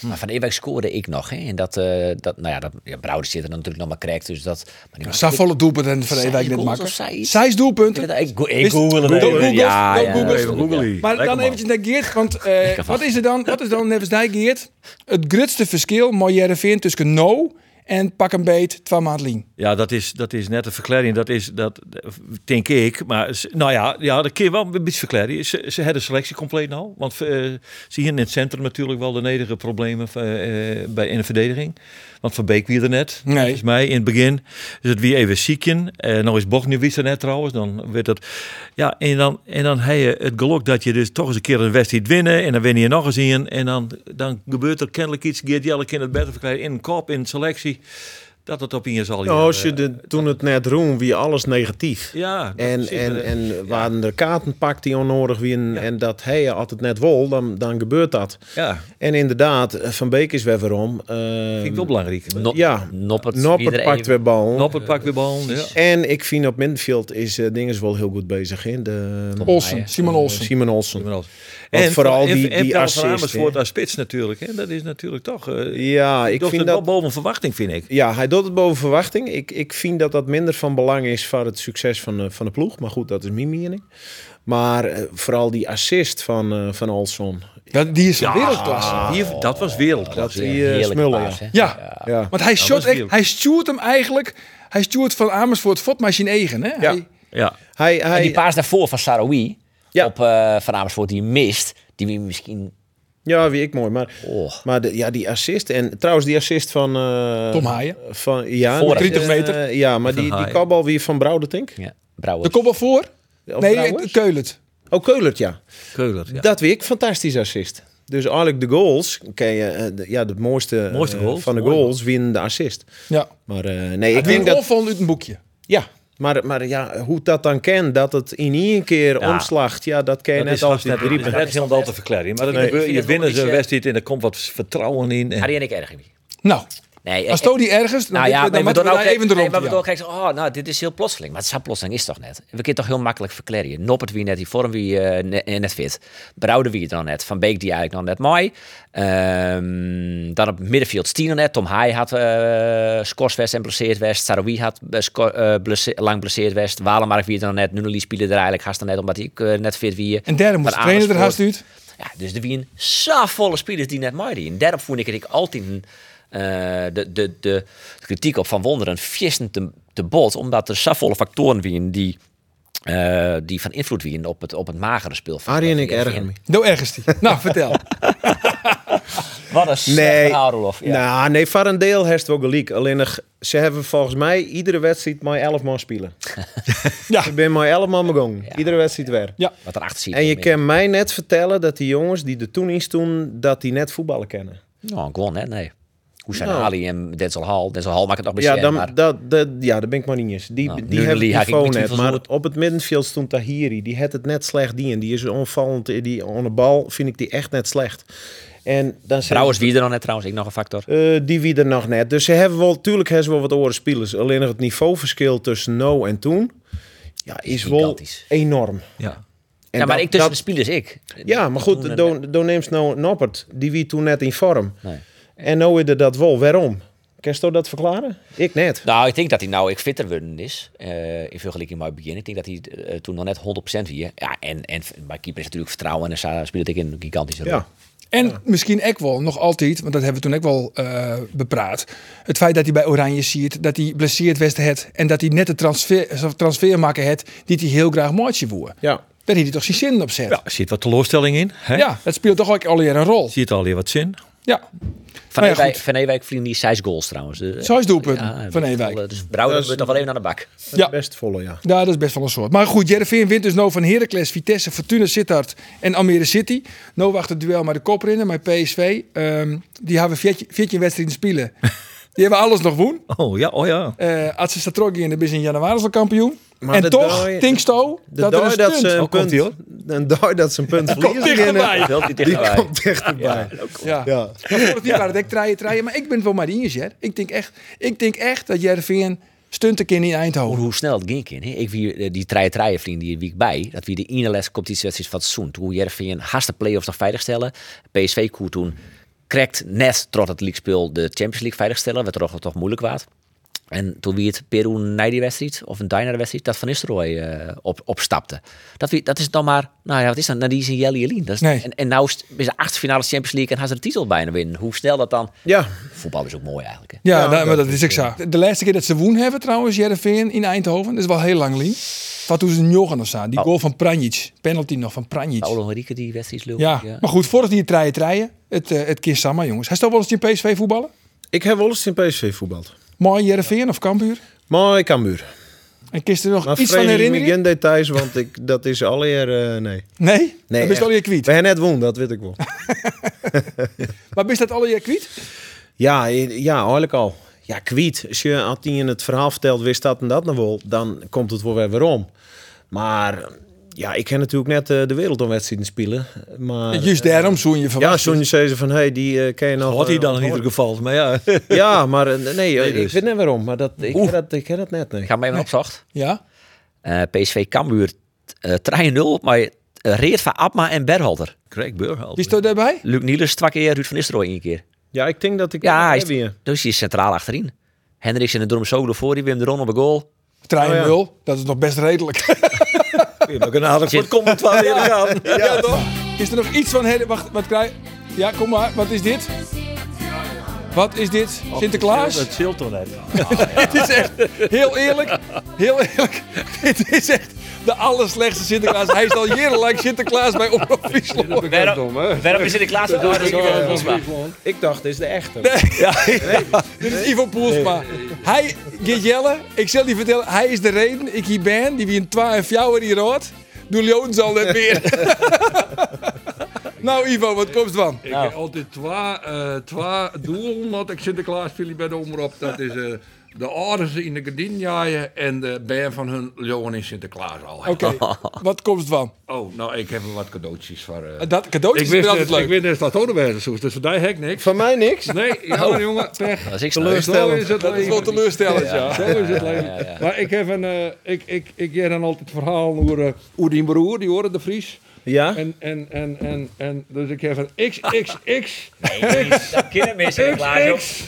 Speaker 1: Maar van Ewijk scoorde ik nog. Hè? En dat, eh, dat, nou ja, dat, ja, Brouwer zit er dan natuurlijk nog maar krek. Dus dat, maar die
Speaker 3: Zou volle doelpunt en van
Speaker 1: Zes
Speaker 3: Ewijk net
Speaker 1: goals
Speaker 3: maken.
Speaker 1: of zoiets?
Speaker 3: Zes doelpunten.
Speaker 1: Ik, ik, ik
Speaker 3: Wist-
Speaker 1: google het
Speaker 3: Don't
Speaker 1: even.
Speaker 3: Google,
Speaker 1: Ja,
Speaker 3: don't
Speaker 1: ja,
Speaker 3: Google.
Speaker 1: even googelen.
Speaker 3: Maar
Speaker 7: Lekker
Speaker 3: dan
Speaker 7: man.
Speaker 3: eventjes naar Geert, want eh, wat is er dan? Wat is dan nevens die Geert? Het grootste verschil, Moyer vindt tussen no en pak een beet, twee maand lien.
Speaker 7: Ja, dat is, dat is net een verklaring. Dat is, dat denk ik. Maar ze- nou ja, ja dat kun je wel een beetje verklaren. Ze, ze hadden selectie compleet nou. Want eh, ze hier in het centrum natuurlijk wel de nederige problemen eh, eh, bij, in de verdediging. Want Van Beek wie er net.
Speaker 3: Nee.
Speaker 7: Volgens mij in het begin. Dus het wie even ziekje. en nou is Bognu wie er net trouwens. Dan werd dat. Ja, en dan, en dan heb je het geluk dat je dus toch eens een keer een wedstrijd winnen. En dan win je nog eens een. En dan, dan gebeurt er kennelijk iets. Geert Jelle kan het beter verklaren. In een kop, in selectie. Dat het op je zal.
Speaker 6: Nou, als je de, toen het net roem, wie alles negatief.
Speaker 7: Ja, dat
Speaker 6: En,
Speaker 7: is eh, het.
Speaker 6: en, en waren er kaarten pakt die onnodig wien en dat hij altijd net wol, dan, dan gebeurt dat.
Speaker 7: ja,
Speaker 6: En inderdaad, Van Beek is weer waarom. eh,
Speaker 7: vind ik wel belangrijk.
Speaker 1: No-
Speaker 6: Ja,
Speaker 1: Noppert,
Speaker 6: Noppert
Speaker 1: iedereen-
Speaker 6: pakt weer bal.
Speaker 7: Noppert pak weer bal. Ja.
Speaker 6: En ik vind op middenveld is eh Dinges wel heel goed bezig. Hè? De,
Speaker 3: Olsen, Simon Olsen.
Speaker 6: Simon Olsen.
Speaker 7: En
Speaker 6: vooral die- die
Speaker 7: Pelle
Speaker 6: assist,
Speaker 7: van Amersfoort
Speaker 6: hè.
Speaker 7: als spits natuurlijk. Hè? Dat is natuurlijk toch. eh
Speaker 6: Ja,
Speaker 7: ik
Speaker 6: ik
Speaker 7: vind
Speaker 6: vind
Speaker 7: het wel
Speaker 6: dat.
Speaker 7: boven verwachting, vind ik.
Speaker 6: Ja, hij doet het boven verwachting. Ik, ik vind dat dat minder van belang is voor het succes van de, van de ploeg. Maar goed, dat is mijn mening. Maar eh, vooral die assist van, eh van Olson.
Speaker 3: Dat, die is wereldklasse.
Speaker 6: Ah.
Speaker 7: Hier, dat was wereldklasse.
Speaker 6: Dat
Speaker 1: Ja,
Speaker 6: die eh
Speaker 1: heerlijke
Speaker 6: smullen.
Speaker 1: paas,
Speaker 6: Ja.
Speaker 1: hè.
Speaker 3: Ja.
Speaker 6: Ja.
Speaker 3: want hij shot,
Speaker 7: was
Speaker 3: echt-
Speaker 7: wild.
Speaker 3: hij stuurt hem eigenlijk, hij stuurt van Amersfoort fotmachine eigen, hè?
Speaker 6: Ja.
Speaker 3: Hij-
Speaker 7: Ja.
Speaker 6: Hij,
Speaker 1: En
Speaker 6: hij,
Speaker 1: die paas daarvoor van Saroui
Speaker 6: Ja.
Speaker 1: op eh Van Amersfoort die mist. Die we misschien...
Speaker 6: ja, wie ik mooi. Maar,
Speaker 1: Oh.
Speaker 6: maar de, ja, die assist. En trouwens, die assist van. eh,
Speaker 3: Tom Haaien.
Speaker 6: Van, ja,
Speaker 1: Voor
Speaker 6: eh,
Speaker 3: 30 meter.
Speaker 6: ja, maar
Speaker 7: Van
Speaker 6: die, die
Speaker 7: Haaien.
Speaker 6: kopbal weer van Brouwdertink.
Speaker 1: Ja, Brouwer.
Speaker 3: De kop al voor?
Speaker 6: Of
Speaker 3: Nee,
Speaker 6: Brouwers?
Speaker 3: Keulert.
Speaker 6: Oh, Keulert, ja.
Speaker 7: Keuler. Ja.
Speaker 6: Dat weer ik fantastisch assist. Dus eigenlijk de goals, ken je, eh, de, ja, de mooiste, eh,
Speaker 7: Mooiste goals,
Speaker 6: van de
Speaker 7: mooi,
Speaker 6: goals win de assist.
Speaker 3: Ja.
Speaker 6: Maar eh, nee, ik
Speaker 3: Ik
Speaker 6: denk
Speaker 3: denk
Speaker 6: dat,
Speaker 3: van uit een boekje.
Speaker 6: ja, maar, maar ja, hoe dat dan kan, dat het in één keer
Speaker 7: Ja.
Speaker 6: omslacht, ja, dat kan je
Speaker 7: Dat
Speaker 6: net
Speaker 7: is
Speaker 6: altijd
Speaker 7: altijd
Speaker 6: drie
Speaker 7: net net heel al te verklaren. Maar dan
Speaker 1: Nee.
Speaker 7: gebeurt,
Speaker 1: Ik
Speaker 7: je
Speaker 1: vind het wel
Speaker 7: winnen
Speaker 1: een
Speaker 7: zo'n
Speaker 1: beetje-
Speaker 7: wedstrijd en er komt wat vertrouwen in. En,
Speaker 1: Harry en ik erger niet.
Speaker 3: Nou,
Speaker 1: Nee,
Speaker 3: als
Speaker 1: eh,
Speaker 3: Tony ergens, dan,
Speaker 1: nou ja,
Speaker 3: dan,
Speaker 1: maar we
Speaker 3: moeten
Speaker 1: doen
Speaker 3: we
Speaker 1: ook
Speaker 3: daar even
Speaker 1: nee,
Speaker 3: erom.
Speaker 1: maar we
Speaker 3: ja.
Speaker 1: doen ook gelijk zo, oh, nou, dit is heel plotseling. Maar het is plotseling is toch net. We kunnen toch heel makkelijk verklaren. Je Noppert wie net, die vorm wie eh, ne- eh, net fit. Brouwde wie het dan net. Van Beek die eigenlijk nog net mooi. Ehm, dan op middenveld Stien net. Tom Haai had eh scorswest en blesseerd west. Saroui had eh, sco- eh, blesse- lang blesseerd west. Walemark wie het dan net. Nunnelie spelen er eigenlijk haast dan net omdat hij ook, eh, net fit wie.
Speaker 3: En derde moest de
Speaker 1: Van
Speaker 3: trainer er haast
Speaker 1: Amersfoort.
Speaker 3: uit.
Speaker 1: Ja, dus er wien zo volle spelers die net mooi En daarop voel ik het ik altijd een, eh, de, de, de kritiek op Van Wonderen viersten te, te bot. Omdat er zo volle factoren wien die, eh, die van invloed wien op het, op het magere speel. van-
Speaker 6: Arie en
Speaker 1: van
Speaker 6: ik
Speaker 1: VVV.
Speaker 6: erger me.
Speaker 3: Nou, ergens die. Nou, vertel.
Speaker 1: Wat een slecht
Speaker 6: Nee.
Speaker 1: verhaal, Rolof. Ja.
Speaker 6: Nou, nee, voor een deel heeft het wel gelijk. Alleen nog, ze hebben volgens mij iedere wedstrijd maar 11 man spelen.
Speaker 3: Ja.
Speaker 6: Ik ben maar 11 man begonnen. Iedere wedstrijd weer.
Speaker 1: Wat erachter zit.
Speaker 6: En je
Speaker 1: meer.
Speaker 6: kan mij net vertellen dat die jongens die er toen in stonden, dat die net voetballen kennen.
Speaker 1: Nou, gewoon hè, nee. Hoe zijn
Speaker 6: Nou.
Speaker 1: Ali en Denzel Hall? Denzel Hall maakt het nog
Speaker 6: Ja,
Speaker 1: bezig.
Speaker 6: dan,
Speaker 1: maar
Speaker 6: dat, dat, ja, daar ben ik maar niet eens. Die,
Speaker 1: Nou,
Speaker 6: die
Speaker 1: Nunnelie
Speaker 6: hebben die
Speaker 1: haak ik
Speaker 6: phone
Speaker 1: niet
Speaker 6: net.
Speaker 1: van
Speaker 6: Maar
Speaker 1: zoet.
Speaker 6: op het middenveld stond Tahiri. Die had het net slecht die en die is onvallend. eh, Die on de bal vind ik die echt net slecht. En dan zijn
Speaker 1: trouwens, wie er dan net trouwens? Ik nog een factor.
Speaker 6: eh, die wie er nog net. Dus ze hebben wel, tuurlijk hebben ze wel wat oren spelers. Alleen nog het niveauverschil tussen nou en toen. Ja, is wel
Speaker 1: Gigantisch.
Speaker 6: enorm.
Speaker 7: ja.
Speaker 6: En
Speaker 1: ja, maar
Speaker 6: dat-
Speaker 1: ik tussen
Speaker 6: dat-
Speaker 1: de spelers, ik.
Speaker 6: ja, maar
Speaker 1: Toen eh,
Speaker 6: goed,
Speaker 1: en
Speaker 6: dan dan neemt nou Noppert. Die wie toen net in vorm.
Speaker 1: Nee.
Speaker 6: En nou is er dat wel. Waarom? Kerst je dat verklaren? Ik net.
Speaker 1: Nou, ik denk dat hij nou ik fitter worden is. eh, in vergelijking met het begin. Ik denk dat hij eh,
Speaker 3: Nou
Speaker 1: toen nog net 100% hier. Ja, en, en bij keeper is natuurlijk vertrouwen. En daar speelde ik een gigantische rol.
Speaker 6: Ja.
Speaker 3: En misschien ook wel, nog altijd, want dat hebben we toen ook wel eh, bepraat. Het feit dat hij bij Oranje ziet, dat hij blesseerd West het en dat hij net de transfer, eh, transfermaker had die hij heel graag maatje woer.
Speaker 6: Ja.
Speaker 3: Daar had hij toch zijn zin op zet.
Speaker 7: Ja, er zit wat teleurstelling in. Hè?
Speaker 3: Ja, dat speelt toch ook alweer een rol.
Speaker 7: Er Zit alweer wat zin.
Speaker 3: Ja,
Speaker 1: Van
Speaker 3: Nou ja,
Speaker 1: Ewijk
Speaker 3: goed.
Speaker 1: Van Ewijk vriend die zes goals trouwens. Dus,
Speaker 3: Zes doelpunten
Speaker 1: Ja,
Speaker 3: van
Speaker 1: wel,
Speaker 3: Ewijk.
Speaker 1: eh, Dus Brouwer
Speaker 6: Dat is-
Speaker 1: we toch wel even aan de bak.
Speaker 3: Ja.
Speaker 6: Best volle, ja.
Speaker 3: Ja, dat is best wel een soort. Maar goed, Jereveen wint dus nou van Heracles, Vitesse, Fortuna Sittard en Almere City. Nou wacht het duel maar de koprinnen, maar PSV. ehm, die hebben 14 14 wedstrijden spelen. Die hebben alles nog woen.
Speaker 7: Oh ja, oh ja.
Speaker 3: Eh als ze Satrogi in de bis in januari al kampioen.
Speaker 6: Maar
Speaker 3: en
Speaker 6: de
Speaker 3: toch,
Speaker 6: dooi-
Speaker 3: Tinksto,
Speaker 6: De
Speaker 3: dat er
Speaker 6: dooi
Speaker 3: een
Speaker 6: dat
Speaker 3: stunt-
Speaker 6: ze een
Speaker 7: Oh, komt
Speaker 6: punt,
Speaker 7: ie, hoor.
Speaker 6: een dooi dat ze een punt verliezen.
Speaker 3: dichterbij.
Speaker 1: Wel die
Speaker 6: Die
Speaker 1: dichterbij.
Speaker 6: komt dichterbij.
Speaker 3: Ja.
Speaker 6: Ja.
Speaker 3: Maar vorig jaar waren het echt draaien, draaien. Maar ik ben voor Marines, Jer. Ik denk echt, ik denk echt dat Jereveen stunt een keer in
Speaker 1: Hoe,
Speaker 3: Eindhoven.
Speaker 1: hoe snel het ging, kind. hè? Ik wie, eh, die treien treien vriend die week bij, dat wie de ene les competitiewedstrijd van het seizoen. Hoe Jervin haast de play-offs nog veiligstellen. PSV koer toen krekt net trots het league de Champions League veiligstellen, wat toch, toch moeilijk was. En toen wie het Peru Nijdi wedstrijd of een Diner wedstrijd, dat Van Nistelrooy eh, op, opstapte. Dat, wie, dat is dan maar, nou ja, wat is dat? Nou, die is een Jelle Jelien. Dat is-
Speaker 3: Nee.
Speaker 1: En, en nou is het- is de achtste finale Champions League en gaan ze de titel bijna winnen. Hoe snel dat dan?
Speaker 6: Ja.
Speaker 1: Voetbal is ook mooi eigenlijk. hè?
Speaker 3: Ja,
Speaker 6: Ja,
Speaker 3: nou, maar
Speaker 6: dat
Speaker 3: dat is exact. De laatste keer dat ze woen hebben trouwens, Jereveen in Eindhoven. Dat is wel heel lang lien. Wat toen ze in Jochen nog staan. Die goal van Pranjic. Penalty nog van Pranjic.
Speaker 1: Paolo Henrique die wedstrijd lul.
Speaker 3: Ja, maar goed, vorig die treien treien. Het, eh, het keer samen, jongens. Hij staat wel eens in PSV voetballen?
Speaker 6: Ik heb wel eens in PSV voetbald.
Speaker 3: Mooi Jereveen of Kambuur?
Speaker 6: Maar ik kan muur.
Speaker 3: En kist er nog
Speaker 6: Maar
Speaker 3: iets van
Speaker 6: vergeet me
Speaker 3: herinnering?
Speaker 6: geen details, want ik, dat is alleer... eh, nee.
Speaker 3: Nee?
Speaker 6: nee
Speaker 3: Dan ben je al je kwiet.
Speaker 6: We hebben net woon, dat weet ik wel.
Speaker 3: Maar ben je dat al je kwiet?
Speaker 6: Ja, eh, ja, eigenlijk al. Ja, kwiet. Als je had die in het verhaal vertelt, wist dat en dat nog wel, dan komt het wel weer weer om. Maar ja, ik ken natuurlijk net eh, de wereld om wedstrijden spelen. Maar
Speaker 3: Juist daarom zoen je van.
Speaker 6: ja, Sonja zei ze van, hey, die eh, ken je nog.
Speaker 7: Had hij
Speaker 6: eh,
Speaker 7: dan in ieder
Speaker 6: hoor.
Speaker 7: geval. Maar ja,
Speaker 6: Ja, maar eh, nee, eh, ik
Speaker 7: dus.
Speaker 6: weet net waarom. Maar dat, ik, ken dat, ik ken dat net, nee.
Speaker 1: Ik ga hem even opzocht.
Speaker 3: Ja?
Speaker 1: Eh, PSV Cambuur eh 3-0, maar eh, Reert van Abma en Berhalter.
Speaker 7: Greg Burghalter.
Speaker 3: Wie staat daarbij?
Speaker 1: Luc Nielers twee keer, Ruud van Nistelrooy één keer.
Speaker 6: Ja, ik denk dat ik...
Speaker 1: Ja, hij is,
Speaker 6: Heb je.
Speaker 1: dus hij is centraal achterin. Hendricks en de Dorm Sogel voor, die Wim de Ron op de goal.
Speaker 3: Trein
Speaker 6: Oh, ja.
Speaker 3: nul. Dat is nog best redelijk.
Speaker 7: Ik een aardig wat komt wel weer aan.
Speaker 3: Ja, toch? Is er nog iets van herinnering? Wacht, wat krijg Ja, kom maar. Wat is dit? Wat is dit? Sinterklaas?
Speaker 7: Dat scheelt toch net.
Speaker 3: Dit is echt heel eerlijk. Heel eerlijk. Dit is echt de allerslechtste Sinterklaas. Hij is al jarenlang Sinterklaas bij Omroep Friesland.
Speaker 1: Waarom is in de Klaas door?
Speaker 6: Ik dacht, dit is de echte.
Speaker 3: Dit is Ivo Poelsma. Hij, Geert Jelle, ik zal je vertellen, hij is de reden. Ik hier ben, die wie een 12 jaar hier hoort. Doe Leon zal het weer. nou Ivo, wat komt van?
Speaker 9: Ik heb altijd twee, eh twee doelen dat ik Sinterklaas viel bij de omroep. Dat is eh, de Aardense in de gardin jaaien en de band van hun Johan in Sinterklaas al.
Speaker 3: Oké, wat komt van?
Speaker 9: Oh, nou, ik heb wel wat cadeautjes voor... eh.
Speaker 3: Dat cadeautje
Speaker 9: ik
Speaker 3: is weer
Speaker 9: wist
Speaker 3: altijd
Speaker 9: het, ik
Speaker 3: leuk.
Speaker 9: wist net dat Odenberg is, dus vandaag heb ik niks.
Speaker 6: Van mij niks.
Speaker 9: Nee, ja, maar jongen, pech.
Speaker 1: Dat is niks.
Speaker 9: Zo is het
Speaker 3: Dat is wel
Speaker 9: leven.
Speaker 3: teleurstellend, ja.
Speaker 9: Ja, zo is het leven. Maar ik heb een... eh, ik, ik, ik heb dan altijd verhaal over, eh, over die broer, die hoorde de Vries.
Speaker 6: Ja?
Speaker 9: En, en, en, en, en, dus ik heb een XXX...
Speaker 1: Dat kinderen meer Sinterklaas, joh.
Speaker 9: XX.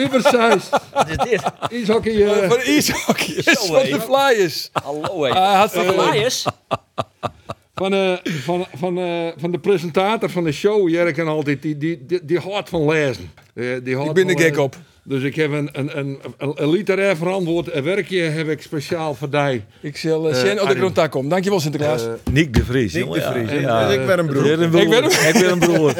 Speaker 9: Oversized.
Speaker 1: Wat is dit?
Speaker 9: Ishockey. eh,
Speaker 3: Van Isaac, yes, van de Flyers.
Speaker 1: Hallo, hé.
Speaker 3: Hij had van
Speaker 1: Klaas?
Speaker 9: van, eh, van, van, eh, van de presentator van de show, Jerk en altijd, die, die, die, die houdt van lezen. Eh, die houdt
Speaker 3: Ik ben
Speaker 9: van
Speaker 3: er gek
Speaker 9: lezen.
Speaker 3: op.
Speaker 9: Dus ik heb een, een, een, een, een literair verantwoord werkje heb ik speciaal voor die.
Speaker 3: Ik zal
Speaker 7: Eh,
Speaker 3: uh, Sjen op de
Speaker 9: Arjen.
Speaker 3: grond daar komen. Dankjewel Sinterklaas.
Speaker 7: Nick de Vries.
Speaker 6: Nick de Vries.
Speaker 7: Ja,
Speaker 6: Ja, dus ik ben een broer.
Speaker 7: Weer een broer.
Speaker 3: Ik ben hem.
Speaker 7: Ik ben een broer.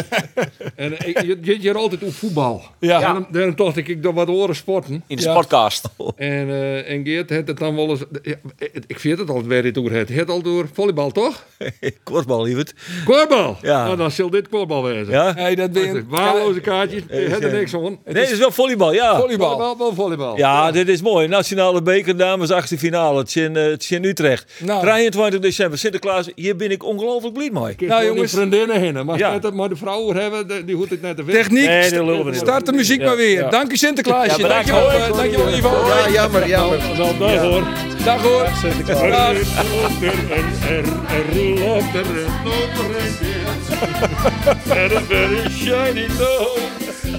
Speaker 9: En eh, ik- je zit hier altijd op voetbal.
Speaker 3: Ja.
Speaker 9: Daarom, daarom dacht ik, ik doe wat horen sporten.
Speaker 1: In de sportcast.
Speaker 9: En, eh, en Geert had het dan wel eens... ja, het- ik vind het altijd weer dit door het. Het al door volleybal, toch?
Speaker 7: Kortbal, lieverd.
Speaker 9: Korbal!
Speaker 7: Ja.
Speaker 9: Nou, dan zal dit korbal wezen.
Speaker 7: Ja?
Speaker 3: Hey, dat ben je.
Speaker 9: Waarloze kaartjes, je hebt er niks van.
Speaker 7: Nee, dit is wel volleybal, ja.
Speaker 3: Volleybal. Nou,
Speaker 9: Volleybal, wel volleybal.
Speaker 7: Ja, dit is mooi. Nationale beker, dames, achtste finale. Het is in, eh, het is in Utrecht.
Speaker 3: Nou.
Speaker 7: 23 december, Sinterklaas. Hier ben ik ongelooflijk blij mee.
Speaker 9: Ik
Speaker 3: Nou,
Speaker 9: nou, jongens.
Speaker 3: jongens.
Speaker 9: vriendinnen heen, maar,
Speaker 7: Ja.
Speaker 9: net- maar de vrouwen hebben, de- die hoeft het net te weten.
Speaker 3: Techniek.
Speaker 7: Nee, dat lullen we niet.
Speaker 3: Start de muziek maar weer. Dank je Sinterklaasje.
Speaker 7: bedankt,
Speaker 3: dankjewel,
Speaker 7: hoor.
Speaker 3: eh, dankjewel Ivo.
Speaker 6: Ja, jammer, jammer.
Speaker 9: Wel, daar hoor.
Speaker 3: Dag hoor. Dag.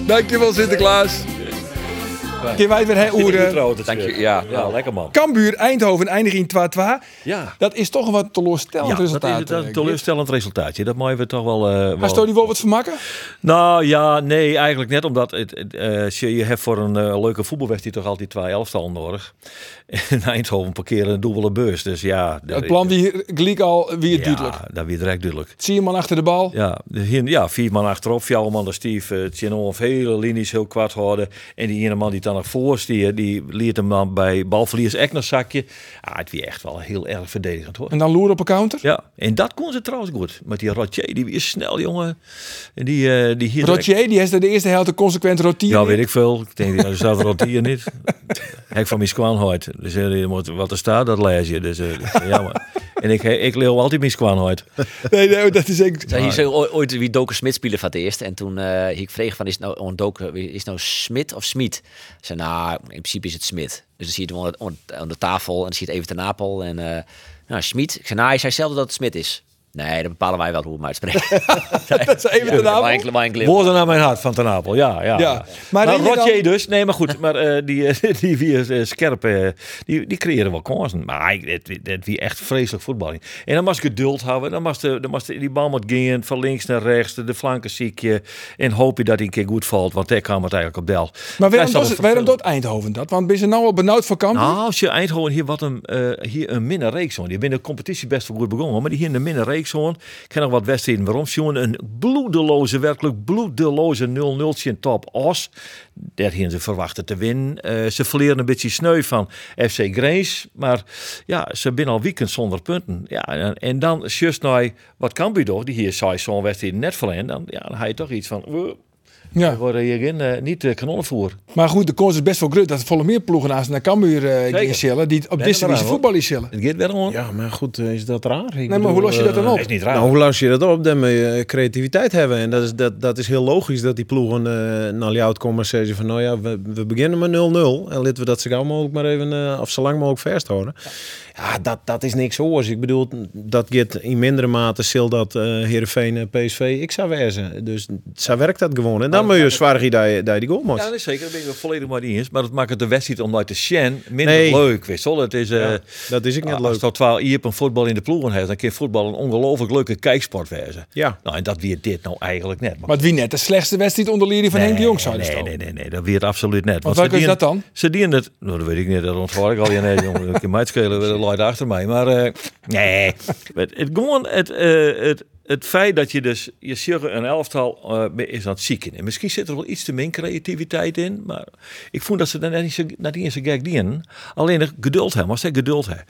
Speaker 3: Dankjewel Sinterklaas. Kun wij het weer hè, oeren.
Speaker 1: Dank je, ja.
Speaker 7: Ja, lekker man.
Speaker 3: Kambuur Eindhoven eindigen in 2-2.
Speaker 7: Ja.
Speaker 3: Dat is toch een wat teleurstellend
Speaker 7: Ja, dat is
Speaker 3: resultaat.
Speaker 7: het, dat is een
Speaker 3: eh,
Speaker 7: teleurstellend resultaatje. Dat mooien we toch wel... eh, wel-
Speaker 3: Gaat Stody wel wat vermakken?
Speaker 7: Nou ja, nee, eigenlijk net omdat het, het, eh, je je hebt voor een eh, leuke voetbalwedstrijd toch altijd twee elftal nodig. En Eindhoven parkeren een dubbele beurs. Dus ja, dat-
Speaker 3: Het plan wie Gliek al, wie het
Speaker 7: ja,
Speaker 3: duidelijk.
Speaker 7: dat weer direct duidelijk.
Speaker 3: Zie je man achter de bal.
Speaker 7: Ja, dus hier- ja, vier man achterop, vier man de stief, Tjenov, hele linies heel kwart houden. En die ene man die dan nog voor is, die, die liet hem dan bij balverliers echt een zakje. Ah, het was echt wel heel erg verdedigend hoor.
Speaker 3: En dan loer op een counter.
Speaker 7: Ja, en dat kon ze trouwens goed. Met die Rotje, die is snel, jongen. En die, eh, die hier direct-
Speaker 3: Rotier, die heeft de eerste helft een consequent rotier.
Speaker 7: Ja, weet ik veel. Ik denk, ja, er staat Rotier niet. Hek van mijn squanhoid. Dus eh, je moet, wat er staat, dat lees je. Dus eh, jammer. En ik, ik leeuw altijd mijn squanhoid.
Speaker 3: Nee, nee, dat is echt...
Speaker 1: Zij hier zo ooit- ooit wie Doken Smit spelen van het eerst. En toen eh ik vreeg van, is het nou, on Doken, is het nou Smit of Smit? Ze zei, nou, in principe is het Smit. Dus dan zie je het onder- onder- aan de tafel en dan zie je het even ten Napel. En eh nou, Smit. Ik zei, nou, hij zei zelf dat het Smit is. Nee, dan bepalen wij wel hoe we hem uitspreken.
Speaker 3: Dat is even de naam.
Speaker 1: Mijn- mijn clip.
Speaker 7: Woorden naar mijn hart van Ten Apel, ja. ja,
Speaker 3: Ja, maar
Speaker 7: Maar nou,
Speaker 3: denk je dan-
Speaker 7: Rotje dus. Nee, maar goed. Maar eh, die, eh, die vier eh, scherpe, eh, die, die creëren wel kansen. Maar ik- het het wie echt vreselijk voetbal. En dan moest ik geduld houden. Dan moest, de, dan moest de- die bal moet gaan van links naar rechts. De, de flanken ziekje. En hoop je dat hij een keer goed valt. Want daar kwam het eigenlijk op del.
Speaker 3: Maar
Speaker 7: Daar
Speaker 3: waarom
Speaker 7: is
Speaker 3: doet
Speaker 7: dat het
Speaker 3: het- waarom
Speaker 7: vervelend.
Speaker 3: doet Eindhoven dat? Want ben ze nou al benauwd voor Kampen?
Speaker 7: Nou, als je Eindhoven hier wat een, eh, hier een minne reeks hoor. Die binnen de competitie best wel goed begonnen. Maar die hier in de minne reeks hoor. Ik ken nog wat wedstrijden waarom. Jongen, een bloedeloze, werkelijk bloedeloze 0-0 in top Os. Daar gingen ze verwachten te winnen. Eh, ze verleren een beetje sneu van FC Grace. Maar ja, ze binnen al weekend zonder punten. Ja, en, en dan just nou, wat kan toch? Die hier zei zo'n wedstrijd net verlenen. Dan, ja, dan had je toch iets van... Uh,
Speaker 3: ja.
Speaker 7: worden hierin eh, niet eh, kanonnenvoer.
Speaker 3: Maar goed, de kans is best wel groot dat er volle meer ploegen naast naar Cambuur
Speaker 7: Zeker.
Speaker 3: uh, zullen. Die op
Speaker 7: er
Speaker 3: dit
Speaker 7: maar
Speaker 3: moment
Speaker 7: aan,
Speaker 3: voetbal is zullen.
Speaker 7: Het gaat wel hoor.
Speaker 6: Ja, maar goed, eh, is dat raar? Ik
Speaker 3: maar
Speaker 6: bedoel,
Speaker 3: hoe los je dat dan
Speaker 6: eh,
Speaker 3: op?
Speaker 7: is niet raar.
Speaker 6: Nou, hoe los je dat op? Dan moet je eh, creativiteit hebben. En dat is, dat, dat is heel logisch dat die ploegen eh naar jou komen en zeggen van... nou ja, we, we beginnen met 0-0 en laten we dat zo gauw mogelijk maar even... eh, of zo lang mogelijk vast houden. Ja, dat, dat is niks hoors. Ik bedoel, dat gaat in mindere mate... zil dat eh Heerenveen en PSV ik zou wezen. Dus zo werkt dat gewoon. En dan moet je zwaar dat je dat je die goal maakt.
Speaker 7: Ja, dat is zeker. Daar ben ik het volledig maar niet eens. Maar dat maakt het de wedstrijd om uit de Shen minder
Speaker 6: Nee.
Speaker 7: leuk. Weet je wel. Het is, eh
Speaker 6: Dat is ik net
Speaker 7: Als
Speaker 6: leuk.
Speaker 7: dat 12 hier op een voetbal in de ploegen heeft, dan kan voetbal een ongelooflijk leuke kijksport wezen.
Speaker 6: Ja.
Speaker 7: Nou, en dat weer dit nou eigenlijk net.
Speaker 3: Maar wie net de slechtste wedstrijd onder Liri van Henk de Jong zou
Speaker 7: nee, nee, nee, nee, dat weer absoluut net.
Speaker 3: Want
Speaker 7: ze
Speaker 3: welke is
Speaker 7: dienen-
Speaker 3: dat dan?
Speaker 7: Ze dienen het, nou dat weet ik niet, dat ontvaar ik al. Ja, nee, jongen, ik kan mij het schelen, de luid achter mij. Maar eh, nee, het, het, gewoon het, eh, het, het feit dat je dus, je ziet een elftal eh, is aan het zieken. En misschien zit er wel iets te min creativiteit in, maar ik vond dat ze dan net niet zo, net niet zo gek dienen. Alleen het geduld hebben, maar ze geduld hebben.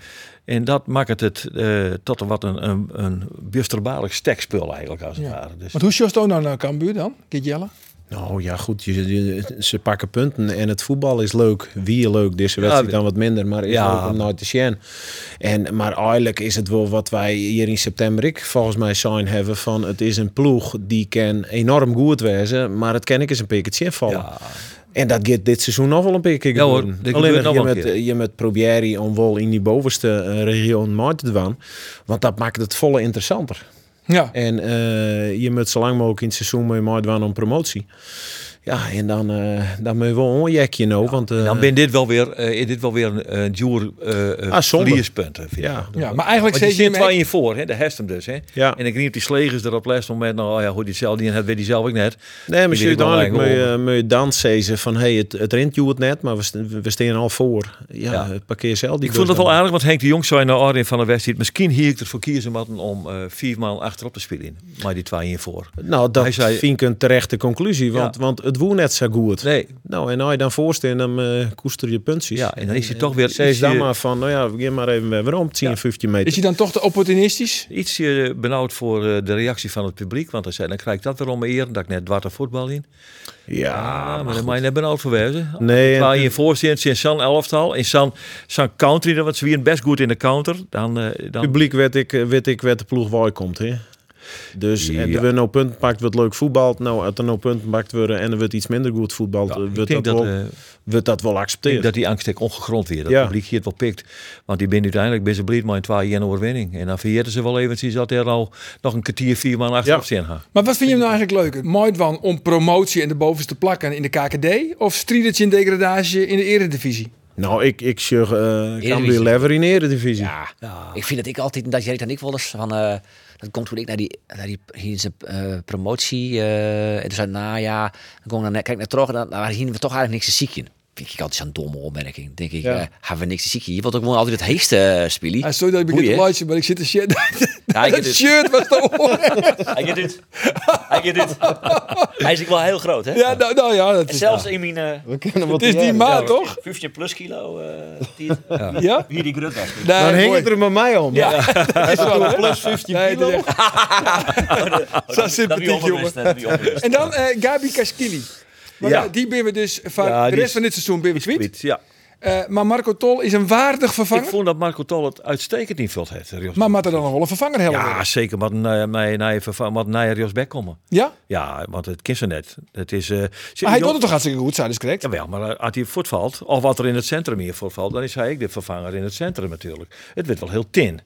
Speaker 7: En dat maakt het eh, tot een wat een, een, een busterbaarlijk stekspul eigenlijk, als het ware. Dus,
Speaker 3: Want hoe sjost ook nou naar Cambuur dan? Kijk Jelle?
Speaker 6: Nou ja, goed. je- je- ze pakken punten en het voetbal is leuk. Wie leuk, deze wedstrijd dan wat minder, maar is
Speaker 7: Ja.
Speaker 6: ook om nooit te zien. En Maar eigenlijk is het wel wat wij hier in september, ik volgens mij, sign hebben van het is een ploeg die kan enorm goed wezen, maar het kan ik eens een piketje vallen.
Speaker 7: ja,
Speaker 6: En dat gaat dit seizoen nog wel een paar keer
Speaker 7: Ja hoor,
Speaker 6: gebeuren.
Speaker 7: dit
Speaker 6: Alleen
Speaker 7: gebeurt nog
Speaker 6: je
Speaker 7: wel een
Speaker 6: met,
Speaker 7: keer.
Speaker 6: je met proberen om wel in die bovenste eh, regio maar te doen, want dat maakt het volle interessanter.
Speaker 3: Ja.
Speaker 6: En eh, je moet zo lang mogelijk in het seizoen mee maar doen om promotie. Ja, en dan, eh dan moet je wel een jekje nou, want... eh,
Speaker 7: Dan ben dit wel weer, eh, is dit wel weer een, een duur eh
Speaker 6: Ah, zonde.
Speaker 7: verliespunten. vind ik.
Speaker 6: ja,
Speaker 3: ja, maar eigenlijk
Speaker 7: Want je
Speaker 3: zeg je...
Speaker 7: zit
Speaker 3: hem
Speaker 7: twee
Speaker 3: echt-
Speaker 7: in voor, hè? de heeft hem dus. Hè?
Speaker 6: Ja.
Speaker 7: En ik niet op die slegers erop les moment, nou oh ja, hoe die zelf die en het weet die zelf ook net.
Speaker 6: nee, maar
Speaker 7: Die
Speaker 6: je
Speaker 7: wil ik wel
Speaker 6: uiteindelijk moet
Speaker 7: eigenlijk
Speaker 6: je, moet je dan zeggen van... hey, het, het rent je het net, maar we, st- we staan al voor. Ja,
Speaker 7: Ja.
Speaker 6: het parkeer zelf die
Speaker 7: Ik vond
Speaker 6: bus
Speaker 7: het wel
Speaker 6: dan.
Speaker 7: aardig, want Henk de Jong zei naar Arjen van der West, misschien hier ik ervoor kiezen moeten om eh vier maal achterop te spelen. Maar die twee in voor.
Speaker 6: Nou, dat
Speaker 7: Hij zei-
Speaker 6: vind ik een terechte conclusie, want,
Speaker 7: Ja.
Speaker 6: want het woe net zo goed.
Speaker 7: Nee,
Speaker 6: Nou, en als je dan voorstaat, dan eh, koester je puntjes.
Speaker 7: ja, en dan is hij toch weer
Speaker 6: Zeg dan
Speaker 7: ietsje-
Speaker 6: maar van, nou ja, we gaan maar even weer om, 10,
Speaker 7: Ja.
Speaker 6: 15 meter.
Speaker 3: Is hij dan toch te opportunistisch?
Speaker 7: Iets eh, benauwd voor eh, de reactie van het publiek, want hij zei, dan krijg ik dat weer om me eer, dat ik net dwarte voetbal in.
Speaker 6: Ja,
Speaker 7: Ja, Ah, maar dan ben je net benauwd voor wezen.
Speaker 6: nee,
Speaker 7: Waar
Speaker 6: en-
Speaker 7: je in voorstelt, in San elftal, in San, San Country, want ze wien best goed in de counter. Dan, eh, dan,
Speaker 6: publiek werd ik, werd ik werd de ploeg waar je komt, hè? Dus en
Speaker 7: Ja.
Speaker 6: er wordt nou punten pakt, wordt leuk voetbald. Nou, als er nou punten pakt worden en er wordt iets minder goed voetbald, eh,
Speaker 7: ik
Speaker 6: wordt dat,
Speaker 7: denk dat,
Speaker 6: wel-
Speaker 7: eh,
Speaker 6: wordt dat wel
Speaker 7: Ik denk
Speaker 6: accepteerd.
Speaker 7: dat die angst ook ongegrond weer. Dat
Speaker 6: Ja.
Speaker 7: het publiek hier het wel pikt. Want die ben uiteindelijk ben ze blij met een 2 1 overwinning. En dan vergeten ze wel eventjes dat er al nog een kwartier, vier man achterop
Speaker 6: Ja.
Speaker 7: zijn gaan.
Speaker 3: Maar wat vind je nou eigenlijk leuker? Moidwan om promotie en de bovenste plakken in de KKD? Of Stridertje in degradage in de eredivisie?
Speaker 6: Nou, ik, ik zeg eh Cambuur Lever in de Eredivisie. Ja.
Speaker 1: Ik vind dat ik altijd, dat jij dan ik wel eens van, eh, dat komt toen ik naar die, naar die hier is de, eh, promotie, eh en toen zei ik, nou ja, dan kom ik naar, kijk naar terug, en dan, nou, hier hebben we toch eigenlijk niks te zieken. Vind ik altijd zo'n domme opmerking. Dan Denk ik, eh, hebben we niks te zieken. Je wilt ook gewoon altijd het heeste eh, spelen.
Speaker 3: Ah, sorry dat ik begin
Speaker 1: Boeien.
Speaker 3: te luisteren, maar ik zit te shit.
Speaker 1: Ja, ik
Speaker 3: dat
Speaker 1: heb dit.
Speaker 3: shirt was te horen.
Speaker 1: Hij doet dit. Hij doet dit. Hij is ook wel heel groot, hè?
Speaker 3: Ja, nou, nou ja, dat
Speaker 1: En
Speaker 3: is,
Speaker 1: zelfs in mijn eh,
Speaker 8: We kunnen
Speaker 3: het is die maat, toch?
Speaker 1: 15 plus kilo, eh, die-
Speaker 3: Ja?
Speaker 1: wie die grut was.
Speaker 3: Nee,
Speaker 6: Dan hing
Speaker 3: mooi.
Speaker 6: het er met mij om.
Speaker 3: Ja, dat is wel, hè?
Speaker 6: Plus 15
Speaker 3: Nee,
Speaker 6: kilo.
Speaker 3: dat is echt- Zo sympathiek, jongen. En dan eh, Gabi Kaskili. Maar
Speaker 7: Ja.
Speaker 3: ja, die ben we dus van
Speaker 7: Ja,
Speaker 3: de
Speaker 7: die
Speaker 3: rest
Speaker 7: is-
Speaker 3: van dit seizoen ben we kwijt.
Speaker 7: Ja.
Speaker 3: Eh, maar Marco Tol is een waardig
Speaker 7: Ik
Speaker 3: vervanger.
Speaker 7: vond dat Marco Tol het uitstekend invult heeft. Rios.
Speaker 3: Maar moet er dan nog wel een vervanger helpen?
Speaker 7: ja, zeker. Wat naar mij- naar je verva- wat naar Rios Beck komen.
Speaker 3: Ja? Maar
Speaker 7: Ja, want het kent ze net. Het is, eh, ze-
Speaker 3: hij
Speaker 7: Jo-
Speaker 3: doet het toch hartstikke goed, zijn dus correct?
Speaker 7: Jawel, maar eh, als hij voortvalt, of wat er in het centrum hier voortvalt, dan is hij ook de vervanger in het centrum natuurlijk. Het wordt wel heel tin.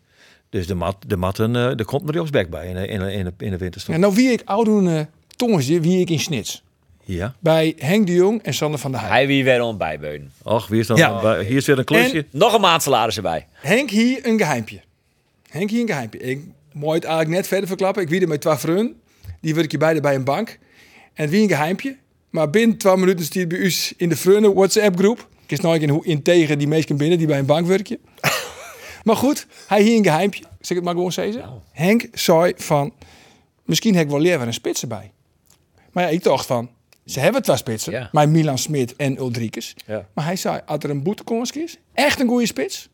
Speaker 7: Dus de mat, de matten, eh er komt een Riosbeck bij in, de- in, de- in, de- in de winterstop.
Speaker 3: Ja, nou, wie ik oudoen Thomas, wie ik in snits.
Speaker 7: Ja.
Speaker 3: Bij Henk de Jong en Sander van der Heij.
Speaker 1: Hij wie weer om bijbeunen.
Speaker 7: Och, wie is dan
Speaker 3: Ja.
Speaker 7: bij- hier is weer een klusje.
Speaker 3: En-
Speaker 1: Nog een maand salaris erbij.
Speaker 3: Henk hier een geheimpje. Henk hier een geheimpje. Ik mooi het eigenlijk net verder verklappen. Ik wierde met twee vrienden. Die werk je beide bij een bank. En het wie een geheimpje. Maar binnen twee minuten stiert bij u in de vrienden WhatsApp groep. Ik is nooit in hoe integer die mensen binnen die bij een bank werken. maar goed, hij hier een geheimpje. Zeg ik het maar gewoon zeggen. Henk zei van, misschien heb ik wel liever een spits erbij. Maar ja, ik dacht van, ze hebben twee spitsen.
Speaker 1: Ja.
Speaker 3: Maar Milan Smit en Ulrikes.
Speaker 7: Ja.
Speaker 3: Maar hij zei, als er een boetekons is, echt een goede spits.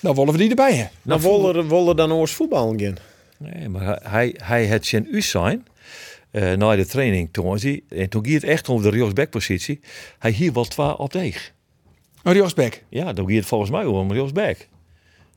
Speaker 3: Dan willen Nou, we die erbij hebben.
Speaker 6: Dan wollen wollen dan oors voetbal gaan.
Speaker 7: Nee, maar hij, hij het zijn u zijn. eh, na de training toen hij, en toen ging het echt om de Riosbeck positie. Hij hier wel twee op deeg.
Speaker 3: Een Riosbeck.
Speaker 7: Ja, dan ging het volgens mij om Riosbeck.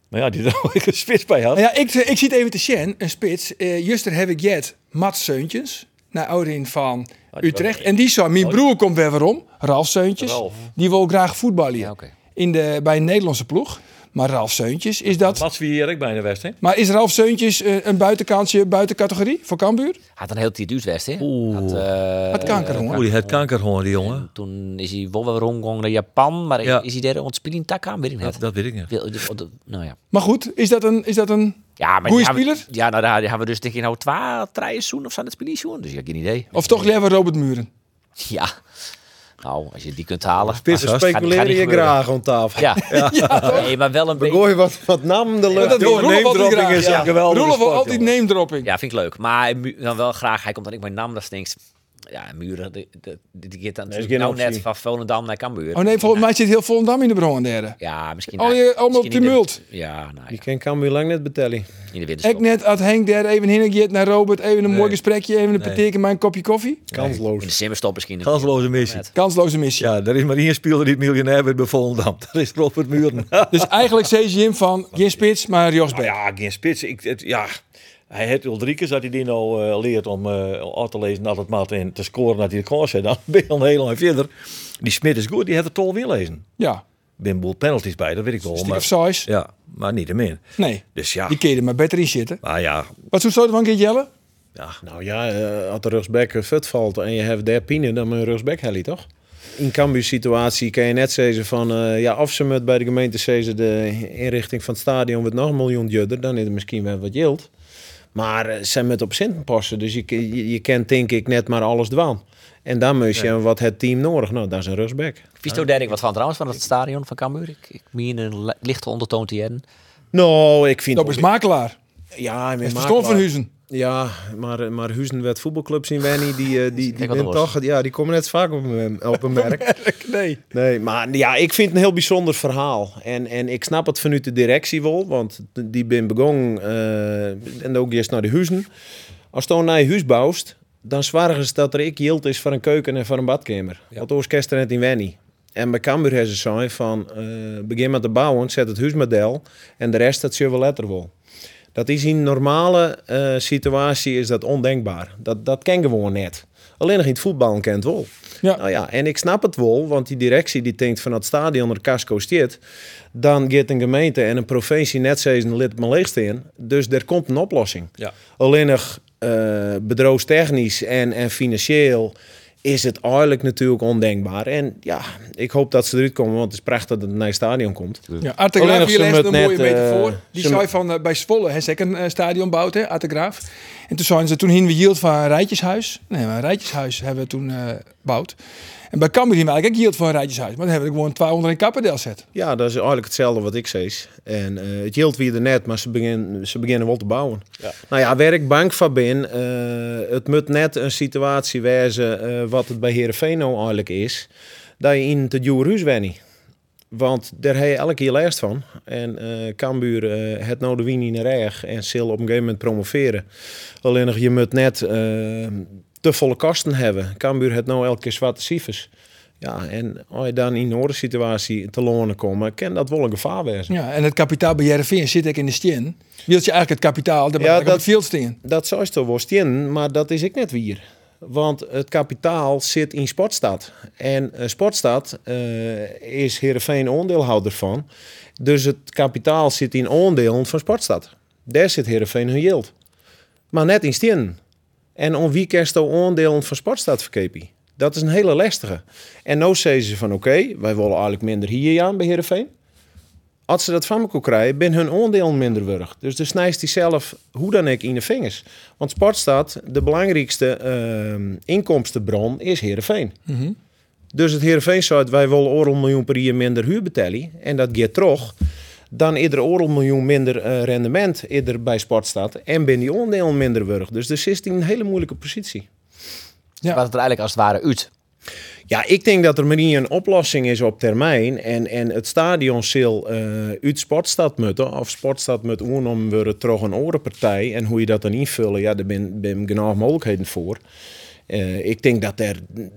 Speaker 7: Maar ja, die er ook een spits bij had.
Speaker 3: Nou ja, ik, ik zit even te Shen, een spits. Eh juster heb ik jet Mats Seuntjens. Naar Oudin van Utrecht. En die zei, mijn broer komt weer weer om. Ralf Seuntjens.
Speaker 7: Ralf.
Speaker 3: Die wil graag voetballen hier.
Speaker 1: oké.
Speaker 3: in de, bij een Nederlandse ploeg. Maar Ralf Seuntjens is dat...
Speaker 7: Mats wie hier ook bij de West, hè?
Speaker 3: Maar is Ralf Seuntjens eh, een buitenkantje, buitencategorie voor Cambuur?
Speaker 1: Had een heel tijd duurt West, hè?
Speaker 7: Oeh.
Speaker 1: Had, eh,
Speaker 3: Had kanker, hoor.
Speaker 7: Oeh, die had kanker gewoon, die jongen.
Speaker 1: Toen is hij wel weer rondgegaan naar Japan, maar
Speaker 7: Ja.
Speaker 1: is hij daar ontspeling tak aan? Weet ik
Speaker 7: Dat,
Speaker 1: niet.
Speaker 7: dat weet ik niet.
Speaker 1: Wil- de- de- Nou ja.
Speaker 3: Maar goed, is dat een... Is dat een
Speaker 1: ja maar
Speaker 3: Goeie
Speaker 1: die hebben-
Speaker 3: speler?
Speaker 1: Ja, nou, daar hebben we dus denk ik nou twee, drie seizoenen of zijn het spelen Dus ik heb geen idee.
Speaker 3: of toch liever Robert Muren?
Speaker 1: Ja. Nou, als je die kunt halen.
Speaker 7: Spits,
Speaker 1: Maar-
Speaker 7: hè?
Speaker 1: gaat- gaat niet
Speaker 6: Speculeren je
Speaker 1: gebeuren.
Speaker 6: graag om tafel.
Speaker 1: Ja. Nee, maar wel een
Speaker 6: We
Speaker 1: beetje.
Speaker 6: gooien wat, wat namen de lucht.
Speaker 3: dat wil
Speaker 6: in.
Speaker 3: Roelof altijd
Speaker 6: Name-dropping
Speaker 3: graag.
Speaker 6: is
Speaker 3: Ja.
Speaker 6: een geweldige
Speaker 3: Roelof wil
Speaker 6: sport,
Speaker 3: altijd
Speaker 6: jongen.
Speaker 3: name dropping.
Speaker 1: Ja, vind ik leuk. Maar mu- dan wel graag. Hij komt dan ik mijn naam, dat stinkt. Ja, Muren, die, die, die gaat dan
Speaker 6: is
Speaker 1: natuurlijk nou
Speaker 6: geen
Speaker 1: net
Speaker 6: optie.
Speaker 1: van Volendam naar Cambuur.
Speaker 3: Oh nee, volgens mij zit heel Volendam in de Bronderen.
Speaker 1: Ja, misschien.
Speaker 6: Oh,
Speaker 3: Al je- allemaal
Speaker 1: misschien in de-
Speaker 3: tumult.
Speaker 1: Ja, nou,
Speaker 6: Die
Speaker 1: ja,
Speaker 6: kan Cambuur lang net betellen.
Speaker 1: in de winterstop.
Speaker 3: Ik net had Henk der even heen geëerd naar Robert, even een mooi
Speaker 7: Nee.
Speaker 3: gesprekje, even een partijtje, maar een kopje koffie.
Speaker 1: In de
Speaker 6: Kansloos.
Speaker 1: simmerstop misschien.
Speaker 7: Kansloze missie.
Speaker 3: Kansloze missie.
Speaker 7: Ja, er is maar één speler die het miljonair werd bij Volendam. Dat is Robert Muren.
Speaker 3: Dus eigenlijk zei ze hem van, geen spits, maar Jos Beck.
Speaker 7: ja, geen spits. Ik, het- ja. Hij heeft Ulrikes, dat hij die nou eh, leert om eh uit te lezen, dat het maat en te scoren dat hij de kans heeft. Dan ben je al heel lang verder. Die Smit is goed, die heeft het tol weer lezen.
Speaker 3: Ja,
Speaker 7: Er zijn een boel penalties bij, dat weet ik wel.
Speaker 3: stuk of
Speaker 7: Maar,
Speaker 3: size.
Speaker 7: ja, maar niet te min.
Speaker 3: Nee,
Speaker 7: Dus ja,
Speaker 3: die keer er maar beter in zitten.
Speaker 7: maar ja,
Speaker 3: Wat zou je van keer jellen?
Speaker 7: ja.
Speaker 6: Nou ja, eh, als de rugsback eh, fut valt en je hebt der pine, dan een rugsback heli, toch? In Cambuur situatie kan je net zeggen van... eh, ja, of ze met bij de gemeente zeggen de inrichting van het stadion wordt nog een miljoen judder... dan is het misschien wel wat yield. Maar eh, ze met op Sinten passen, dus je, je, je kent denk ik net maar alles dwaan. En dan moet je wat het team nodig. Nou, dat is een rugsback.
Speaker 1: Visto daar ik wat van trouwens, van het stadion van Cambuur. Ik, ik meen een li- lichte ondertoon te hebben.
Speaker 6: Nou, ik vind...
Speaker 3: Dat is makelaar.
Speaker 6: Ja,
Speaker 3: Het
Speaker 6: met
Speaker 3: verstand van Huizen.
Speaker 6: Ja, maar, maar Huizenwet voetbalclub zien wij niet. Die, eh, die, die,
Speaker 1: wat er
Speaker 6: wint
Speaker 1: was.
Speaker 6: toch, ja, die komen net zo vaak op een, op een merk.
Speaker 3: Nee.
Speaker 6: Nee, maar ja, ik vind het een heel bijzonder verhaal. En, en ik snap het vanuit de directie wel, want die ben begonnen eh, en ook eerst naar de huizen. Als je nou een huis bouwt, dan zwaar ze dat er ik yield is voor een keuken en voor een badkamer. Want ons kerst er net in Wenny. En bij Cambuur hebben ze zijn van, eh, begin met te bouwen, zet het huismodel en de rest dat zullen we later wel. Dat is in normale eh, situatie is dat ondenkbaar. Dat, dat ken gewoon net. Alleen nog in het voetbal kent wel.
Speaker 3: Ja.
Speaker 6: Nou ja, en ik snap het wel, want die directie die denkt van het stadion er casco stiet, dan gaat een gemeente en een provincie net steeds een lid maar leegste in. Dus er komt een oplossing.
Speaker 7: Ja.
Speaker 6: Alleen nog eh, bedrijfstechnisch en, en financieel is het eigenlijk natuurlijk ondenkbaar. En ja, ik hoop dat ze eruit komen, want het is prachtig dat het naar het stadion komt.
Speaker 3: Ja, Arte Graaf,
Speaker 6: Alleen
Speaker 3: hier
Speaker 6: nog
Speaker 3: leest een
Speaker 6: ze met
Speaker 3: mooie
Speaker 6: net,
Speaker 3: metafoor.
Speaker 6: eh,
Speaker 3: Die
Speaker 6: ze
Speaker 3: zei
Speaker 6: met-
Speaker 3: van eh, bij Zwolle, hè, ze ook een eh, stadion bouwt, hè, Arte Graaf. En toen zeiden ze, toen hingen we hield van een rijtjeshuis. Nee, maar een rijtjeshuis hebben we toen eh gebouwd. En bij Cambuur hingen we eigenlijk ook hield van een rijtjeshuis. Maar dan hebben we er gewoon 200 in Kappendel zet.
Speaker 6: Ja, dat is eigenlijk hetzelfde wat ik zei. En eh, het hield wie er net, maar ze, begin, ze beginnen wel te bouwen. Nou ja, waar ik bang van ben, eh, het moet net een situatie wezen eh, wat het bij Heerenveen nou eigenlijk is, dat je in het juurhuis wennie. Want daar heb je elke keer last van. En eh Cambuur eh, het nou de wien in de reg en zal op een gegeven moment promoveren. Alleen nog, je moet net eh, te volle kosten hebben. Cambuur het nou elke keer zwarte cijfers. Ja, en als je dan in een situatie te lonen komt, kan dat wel een gevaar wezen.
Speaker 3: Ja, en het kapitaal bij Jereveen zit ik in de stien. Hield je eigenlijk het kapitaal, daar
Speaker 6: Ja,
Speaker 3: ja, dat... op
Speaker 6: dat-
Speaker 3: het veld stien.
Speaker 6: Dat zou je toch wel stien, maar dat is ik net weer. Want het kapitaal zit in Sportstad. En eh, Sportstad eh, is Heerenveen oordeelhouder van. Dus het kapitaal zit in oordelen van Sportstad. Daar zit Heerenveen hun geld. Maar net in stien. En om wie kerst de oordelen van Sportstad verkepen? Dat is een hele lastige. En nou zeggen ze van oké, wij willen eigenlijk minder hier aan bij Heerenveen. Als ze dat van elkaar krijgen, ben hun onderdeel minder wurg. Dus de snijst die zelf hoe dan ook in de vingers. Want Sportstad, de belangrijkste ehm, inkomstenbron, is Heerenveen. Dus het Heerenveen zou wij willen oorl miljoen per jaar minder huur betalen. En dat gaat terug. Dan ieder oorl miljoen minder eh, rendement ieder bij Sportstad. En ben die onderdeel minder wurg. Dus de zit in een hele moeilijke positie.
Speaker 3: Ja.
Speaker 10: Wat het er eigenlijk als het ware uit.
Speaker 6: Ja, ik denk dat er maar niet een oplossing is op termijn. En, en het stadion zal eh, uit Sportstad moeten. Of Sportstad moet oernom worden terug een orenpartij. En hoe je dat dan invullen, ja, daar ben, ben genoeg mogelijkheden voor. Eh, ik denk dat, er,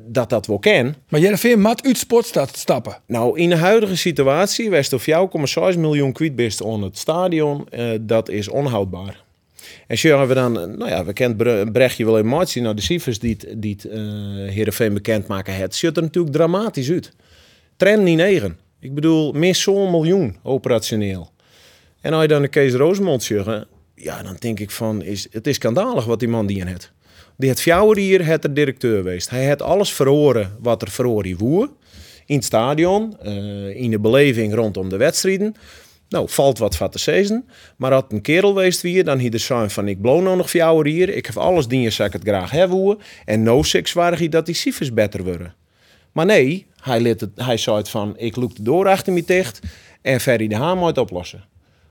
Speaker 6: dat dat wel kan.
Speaker 3: Maar Jereveen mat uit Sportstad stappen.
Speaker 6: Nou, in de huidige situatie, West of jou, komen 6 miljoen kwijt best on het stadion. Eh, dat is onhoudbaar. En zo hebben we dan, eh, nou ja, we kent Bre- Brechtje wel emotie. Nou, de cijfers die, het- die het, eh Heerenveen bekendmaken, het ziet er natuurlijk dramatisch uit. Tram niet 9. Ik bedoel, meer zo'n miljoen operationeel. En als je dan de Kees Roosmond zegt, ja, dan denk ik van, is, het is schandalig wat die man die in het. Die het Fjouwer hier, het de directeur geweest. Hij had alles verhoren wat er verhoren woer. In het stadion, eh, in de beleving rondom de wedstrijden. Nou, valt wat van te sezen. Maar had een kerel geweest hier, dan hier de sign van ik bloon nog Fjouwer hier. Ik heb alles die je zou ik het graag hebben woer. En no six waren hij dat die cijfers beter worden. Maar nee, hij, liet het, hij zei het van ik loop de door achter me dicht. En Ferry de Haan moet het oplossen.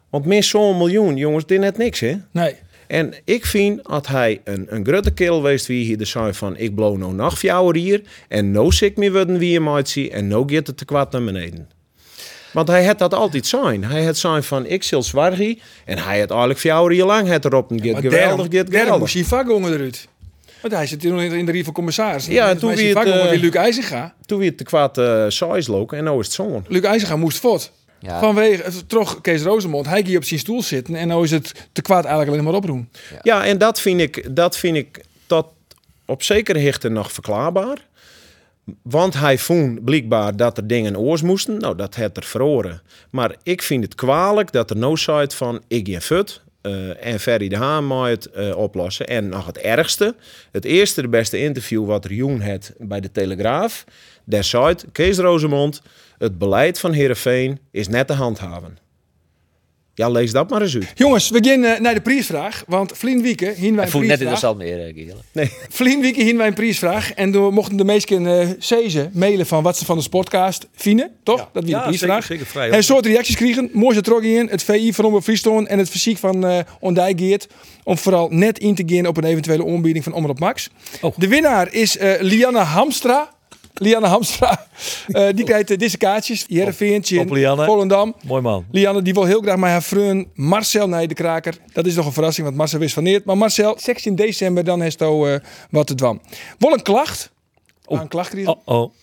Speaker 6: Want meer zo'n miljoen, jongens, dit net niks, hè?
Speaker 3: Nee.
Speaker 6: En ik vind dat hij een, een grote kerel geweest wie hier de zijn van ik blow no nacht voor jou hier en no sick meer worden wie je might zien en no get het te kwaad naar beneden. Want hij had dat altijd zijn. Hij had zijn van ik zil zwargie en hij had eigenlijk voor jou hier lang het erop en get
Speaker 3: Maar
Speaker 6: geweldig,
Speaker 3: daarom-
Speaker 6: get
Speaker 3: daarom moest
Speaker 6: geweldig.
Speaker 3: hij vakjongen eruit. Want hij zit in in de rief van commissaris.
Speaker 6: Ja, en toen
Speaker 3: Hij is
Speaker 6: wie het,
Speaker 3: vakjongen
Speaker 6: eh,
Speaker 3: wie Luc IJzinga.
Speaker 6: Toen weer te kwaad eh size lopen en nou is het zo'n.
Speaker 3: Luc IJzinga moest voort.
Speaker 10: Ja.
Speaker 3: Vanwege, toch Kees Rosemond, hij ging op zijn stoel zitten en nou is het te kwaad eigenlijk alleen maar oproemen.
Speaker 6: Ja, en dat vind ik, dat vind ik dat op zekere hichte nog verklaarbaar. Want hij vond blijkbaar dat er dingen oors moesten. Nou, dat het er verloren. Maar ik vind het kwalijk dat er no site van Iggy en Fut eh, en Ferry de Haan moet het eh, oplossen. En nog het ergste. Het eerste, de beste interview wat Rioen had bij de Telegraaf. Daar zei Kees Rozemond, het beleid van Heerenveen is net te handhaven. Ja, lees dat maar eens uit.
Speaker 3: Jongens, we gaan eh, naar de prijsvraag. Want Vlien Wieken hien wij
Speaker 1: Hij
Speaker 3: een
Speaker 1: voelt net in de
Speaker 3: prijsvraag.
Speaker 1: zaal meer, eh, Giel.
Speaker 3: Vlien Wieken hien wij een prijsvraag. En we mochten de meesten eh zezen mailen van wat ze van de sportcast vinden. Toch? Dat wie de
Speaker 7: Ja,
Speaker 3: prijsvraag.
Speaker 7: zeker, zeker, vrij
Speaker 3: en
Speaker 7: open.
Speaker 3: soort reacties kregen. Mooi ze trok in. Het VI van Omroep Friesland en het fysiek van eh Ondijk Geert. Om vooral net in te gaan op een eventuele aanbieding van Omroep Max.
Speaker 7: Oh.
Speaker 3: De winnaar is eh Lianne Hamstra. Lianne Hamstra. Eh, die krijgt eh, deze kaartjes. Jereveen, Tjin,
Speaker 7: op Lianne.
Speaker 3: Volendam.
Speaker 7: Mooi man.
Speaker 3: Lianne die wil heel graag met haar vriend Marcel naar de kraker. Dat is nog een verrassing, want Marcel wist van neer. Maar Marcel, 16 december, dan heeft hij eh, wat te dwam. Wel een klacht. Aan klacht krijgen.
Speaker 7: Oh oh.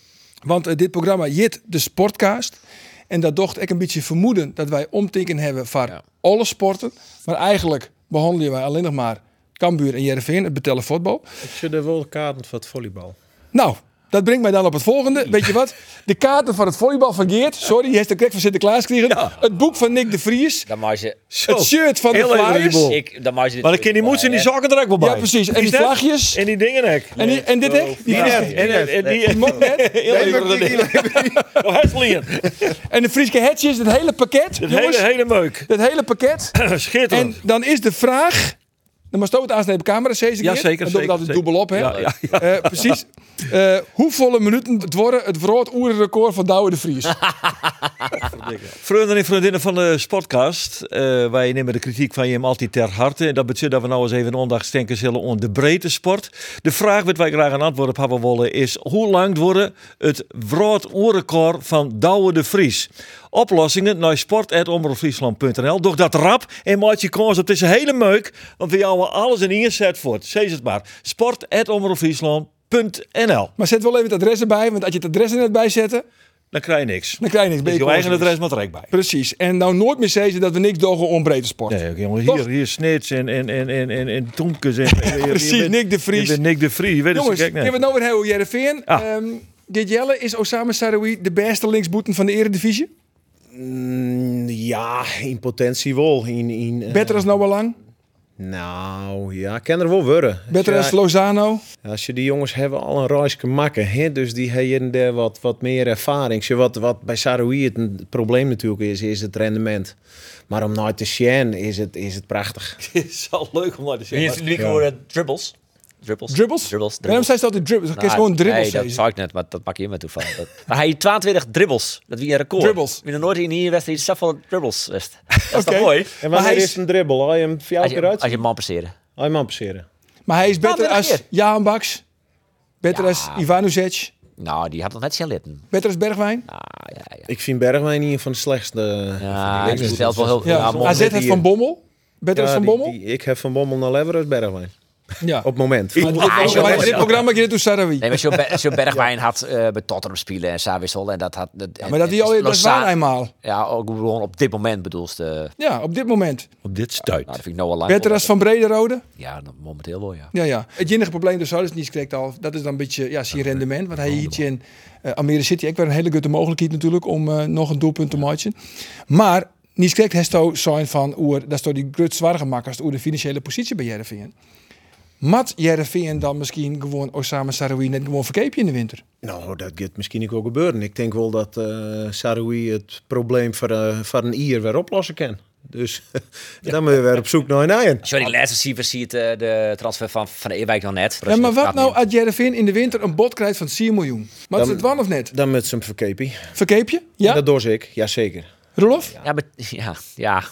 Speaker 3: Want eh, dit programma jit de Sportcast. En dat docht ik een beetje vermoeden dat wij omtinken hebben van alle sporten. Maar eigenlijk behandelen wij alleen nog maar Cambuur en Jereveen, het betellen voetbal.
Speaker 6: Ik zie de wel kaarten van het volleybal.
Speaker 3: Nou, dat brengt mij dan op het volgende. Weet je wat? De kaarten van het volleybal van Geert. Sorry, die heeft de krek van Sinterklaas gekregen. Het boek van Nick de Vries.
Speaker 1: Dan maak je...
Speaker 3: Het shirt van de
Speaker 7: heel even die
Speaker 3: Flyers.
Speaker 7: boel.
Speaker 1: Ik, dan maak je dit
Speaker 7: Maar dan kan die moedse en die zakken er ook wel bij.
Speaker 3: Ja, precies. En die
Speaker 7: Is dat?
Speaker 3: vlagjes.
Speaker 7: En die dingen ook.
Speaker 3: En, die, en dit hek? Die
Speaker 7: Ja,
Speaker 3: Vrieske-
Speaker 7: en, en, en die
Speaker 3: moknet.
Speaker 7: heel even dat ding. Oh, Hesselien.
Speaker 3: En de Frieske hetje is het hele pakket.
Speaker 7: Het
Speaker 3: jongens.
Speaker 7: hele, hele meuk.
Speaker 3: Dat hele pakket. En
Speaker 7: Schitterend.
Speaker 3: dan is de vraag. Dan mag je ook het aansnijden op camera, deze keer.
Speaker 7: Ja, zeker,
Speaker 3: Dan doen we dat altijd
Speaker 7: zeker, zeker.
Speaker 3: dubbel op, hè?
Speaker 7: Ja, ja,
Speaker 3: Eh, precies. Eh, hoevolle minuten het worden het vrood oerenrecord van Douwe de Vries?
Speaker 7: Vrienden en vriendinnen van de Sportcast. eh, wij nemen de kritiek van Jim altijd ter harte. En dat betekent dat we nou eens even een ondag stenken zullen om de breedte sport. De vraag wat wij graag een antwoord op hebben willen is... hoe lang worden het wrood oerrecord van Douwe de Vries? Oplossingen naar sport.omroepfriesland.nl. Doch dat rap en maak je kans op deze hele meuk. Want we houden alles in inzet voort. Zeg het maar. Sport.omroepfriesland.nl
Speaker 3: Maar zet wel even het adres erbij, want als je het adres er net bij zet,
Speaker 7: Dan krijg je niks.
Speaker 3: dan krijg je niks. Ben
Speaker 7: Is
Speaker 3: je
Speaker 7: jouw eigen
Speaker 3: koorts.
Speaker 7: adres maar trek bij.
Speaker 3: Precies. En nou nooit meer zeggen dat we niks dogen om breedte sport.
Speaker 7: Nee, oké, jongen,
Speaker 3: Toch?
Speaker 7: hier, hier Snits en, en, en, en, en, en Toemkes en... en- je- je
Speaker 3: Precies,
Speaker 7: bent-
Speaker 3: Nick de Vries.
Speaker 7: Je bent Nick de Vries, je weet het
Speaker 3: Jongens,
Speaker 7: zo
Speaker 3: ik
Speaker 7: gek net.
Speaker 3: heb het nou weer heel Jereveen.
Speaker 7: Ah.
Speaker 3: Ehm dit Jelle is Osama Saroui de beste linksboeten van de eredivisie.
Speaker 6: Mm, Ja, in potentie wel. In, in, eh,
Speaker 3: Better als Noah Lang.
Speaker 6: Nou, ja, kan er wel worden.
Speaker 3: Better
Speaker 6: Ja,
Speaker 3: als Lozano.
Speaker 6: Als je die jongens hebben al een reisje maken, hè? dus die hebben hier en daar wat, wat meer ervaring. Zo wat, wat bij Saroui het, een probleem natuurlijk is, is het rendement. Maar om nooit te zien is het, is het prachtig.
Speaker 7: Het is al leuk om naar te
Speaker 1: Nu
Speaker 7: zeggen.
Speaker 1: nu worden dribbles. Dribbles.
Speaker 3: Dribbles?
Speaker 1: Dribbles.
Speaker 3: Waarom zei ze altijd dribbles? Ik
Speaker 1: Nou,
Speaker 3: is gewoon dribbles.
Speaker 1: Nee, dat
Speaker 3: zeggen.
Speaker 1: zou ik net, maar dat pak je met toeval. Dat, maar hij had 22 dribbles. Dat wie een record.
Speaker 3: Dribbles.
Speaker 1: In de nooit in hier wedstrijd zoveel dribbles. wist. Dat is
Speaker 3: Oké.
Speaker 1: toch mooi?
Speaker 6: En
Speaker 3: Maar hij
Speaker 6: wanneer
Speaker 3: is-
Speaker 6: is een dribbel? Hij je hem vier
Speaker 1: Als
Speaker 6: keer
Speaker 1: je,
Speaker 6: uit?
Speaker 1: als je man passeren.
Speaker 6: Hij man passeren.
Speaker 3: Maar hij is beter
Speaker 1: weer
Speaker 3: als
Speaker 1: een
Speaker 3: Jaan Baks. Beter
Speaker 1: Ja.
Speaker 3: als Ivanusic.
Speaker 1: Nou, die had nog net zijn litten.
Speaker 3: Beter als Bergwijn.
Speaker 1: Ah, ja, ja.
Speaker 6: Ik vind Bergwijn een van de slechtste.
Speaker 1: Ja,
Speaker 6: van
Speaker 1: het
Speaker 6: die
Speaker 1: is wel wel heel...
Speaker 3: Ja.
Speaker 1: Ja, mooi.
Speaker 3: AZ heeft Van Bommel. Beter als
Speaker 6: Ja,
Speaker 3: Van
Speaker 6: die-
Speaker 3: Bommel.
Speaker 6: die- ik heb Van Bommel naar Lever als Bergwijn.
Speaker 3: Ja.
Speaker 6: Op het moment.
Speaker 1: Ah,
Speaker 3: Maar
Speaker 1: zo-
Speaker 3: bij dit
Speaker 1: zo-
Speaker 3: programma keer toen Sarawi.
Speaker 1: Nee, maar zo'n Be- zo'n Bergwijn had eh, bij Tottenham spelen en Sawissel en dat had... Dat, en-
Speaker 3: Maar dat
Speaker 1: en-
Speaker 3: die al dat is
Speaker 1: Loza-
Speaker 3: waar eenmaal.
Speaker 1: Ja, ook gewoon op dit moment bedoelste. Nou,
Speaker 3: Ja, op dit moment.
Speaker 7: Op dit stuit.
Speaker 1: dat vind ik Noah Lang.
Speaker 3: Beter als Van Brederode.
Speaker 1: Ja, nou, momenteel wel, ja.
Speaker 3: Ja, ja. Het enige probleem dus dat is niet correct al. Dat is dan een beetje ja, zijn rendement. Want hij hier in eh Almere City. Ik weer een hele goede mogelijkheid natuurlijk om eh, nog een doelpunt te maken. Maar niet correct hesto zijn van oer, dat is toch die grut zwaar makkers oer de financiële positie bij Jereveen. Mat Jereveen dan misschien gewoon Osama Saroui net gewoon verkeepje in de winter.
Speaker 6: Nou, dat gaat misschien ook gebeuren. Ik denk wel dat eh Saroui het probleem van, eh, van een ier weer oplossen kan. Dus dan moeten we weer op zoek naar een eind.
Speaker 1: Sorry, de laatste cijfer ziet eh, de transfer van Van Eerwijk nog net.
Speaker 3: Ja, maar wat nou als Jereveen in de winter een bod krijgt van 4 miljoen? Maar is
Speaker 6: Dan-
Speaker 3: het wan of net?
Speaker 6: Dan met zijn verkepie.
Speaker 3: Verkeepje?
Speaker 6: Ja?
Speaker 3: Ja?
Speaker 6: Dat doe ik, jazeker.
Speaker 3: Rolof?
Speaker 1: Ja, maar, ja, ja,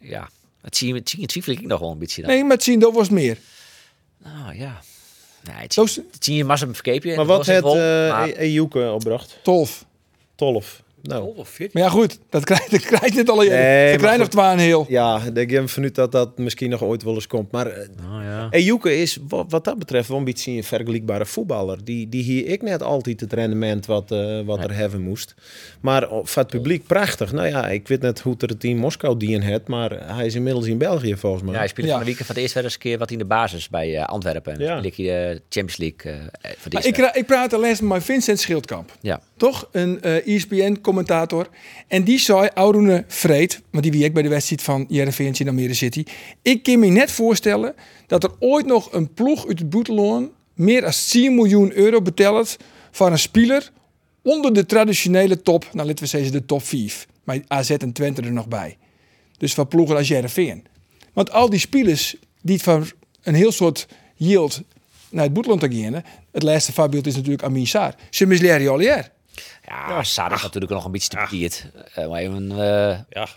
Speaker 1: ja. Het zie je, het zie je- het twijfel ik nog wel een beetje dan.
Speaker 3: Nee, maar het zien, dat was meer.
Speaker 1: Nou, ja. Nee, het,
Speaker 3: Doos-
Speaker 1: zie, het zie je maar zo'n verkeepje.
Speaker 6: Maar wat
Speaker 1: Dat was
Speaker 6: het
Speaker 1: wel, maar-
Speaker 6: eh Ejuke opbracht?
Speaker 3: 12.
Speaker 6: 12. Nou,
Speaker 3: Maar ja, goed, dat krijgt dat krijgt net alle
Speaker 6: Nee,
Speaker 3: jaren.
Speaker 6: maar
Speaker 3: Dat krijgt nog
Speaker 6: goed.
Speaker 3: twaalf heel.
Speaker 6: ja, ik heb vanuit dat dat misschien nog ooit wel eens komt. Maar eh,
Speaker 7: Oh,
Speaker 1: Nou, ja.
Speaker 6: Ejuke is wat, wat dat betreft wel een beetje een vergelijkbare voetballer. Die, die hier ik net altijd het rendement wat, eh, wat er hebben moest. Maar op- voor het publiek prachtig. Nou ja, ik weet net hoe het er het in Moskou die in het. Maar hij is inmiddels in België volgens mij.
Speaker 1: Ja, hij speelde
Speaker 3: Ja.
Speaker 1: van de weekend van de eerste wedstrijd een keer wat in de basis bij eh, Antwerpen. En
Speaker 6: Ja.
Speaker 1: dan speelde hij de Champions League eh, eh, voor de
Speaker 3: Maar
Speaker 1: eerste
Speaker 3: ik, ra- ik praat alleen met mijn Vincent Schildkamp.
Speaker 1: Ja.
Speaker 3: Toch? Een eh ESPN-commentator. En die zei, Arune Vreed, want die wie ik bij de wedstrijd van Jereveen in Almere City. Ik kan me net voorstellen dat er ooit nog een ploeg uit het Boeteloon meer dan 10 miljoen euro betelt voor een speler onder de traditionele top. Nou, laten we zeggen de top 5. Maar AZ en Twente er nog bij. Dus van ploegen als Jereveen. Want al die spelers die het van een heel soort yield naar het boetland te gaan. Het laatste voorbeeld is natuurlijk Amin Saar. Ze misleren al jaren.
Speaker 1: Ja, Saar is natuurlijk nog een beetje te bekeerd. Eh, maar even, eh,
Speaker 7: Ja,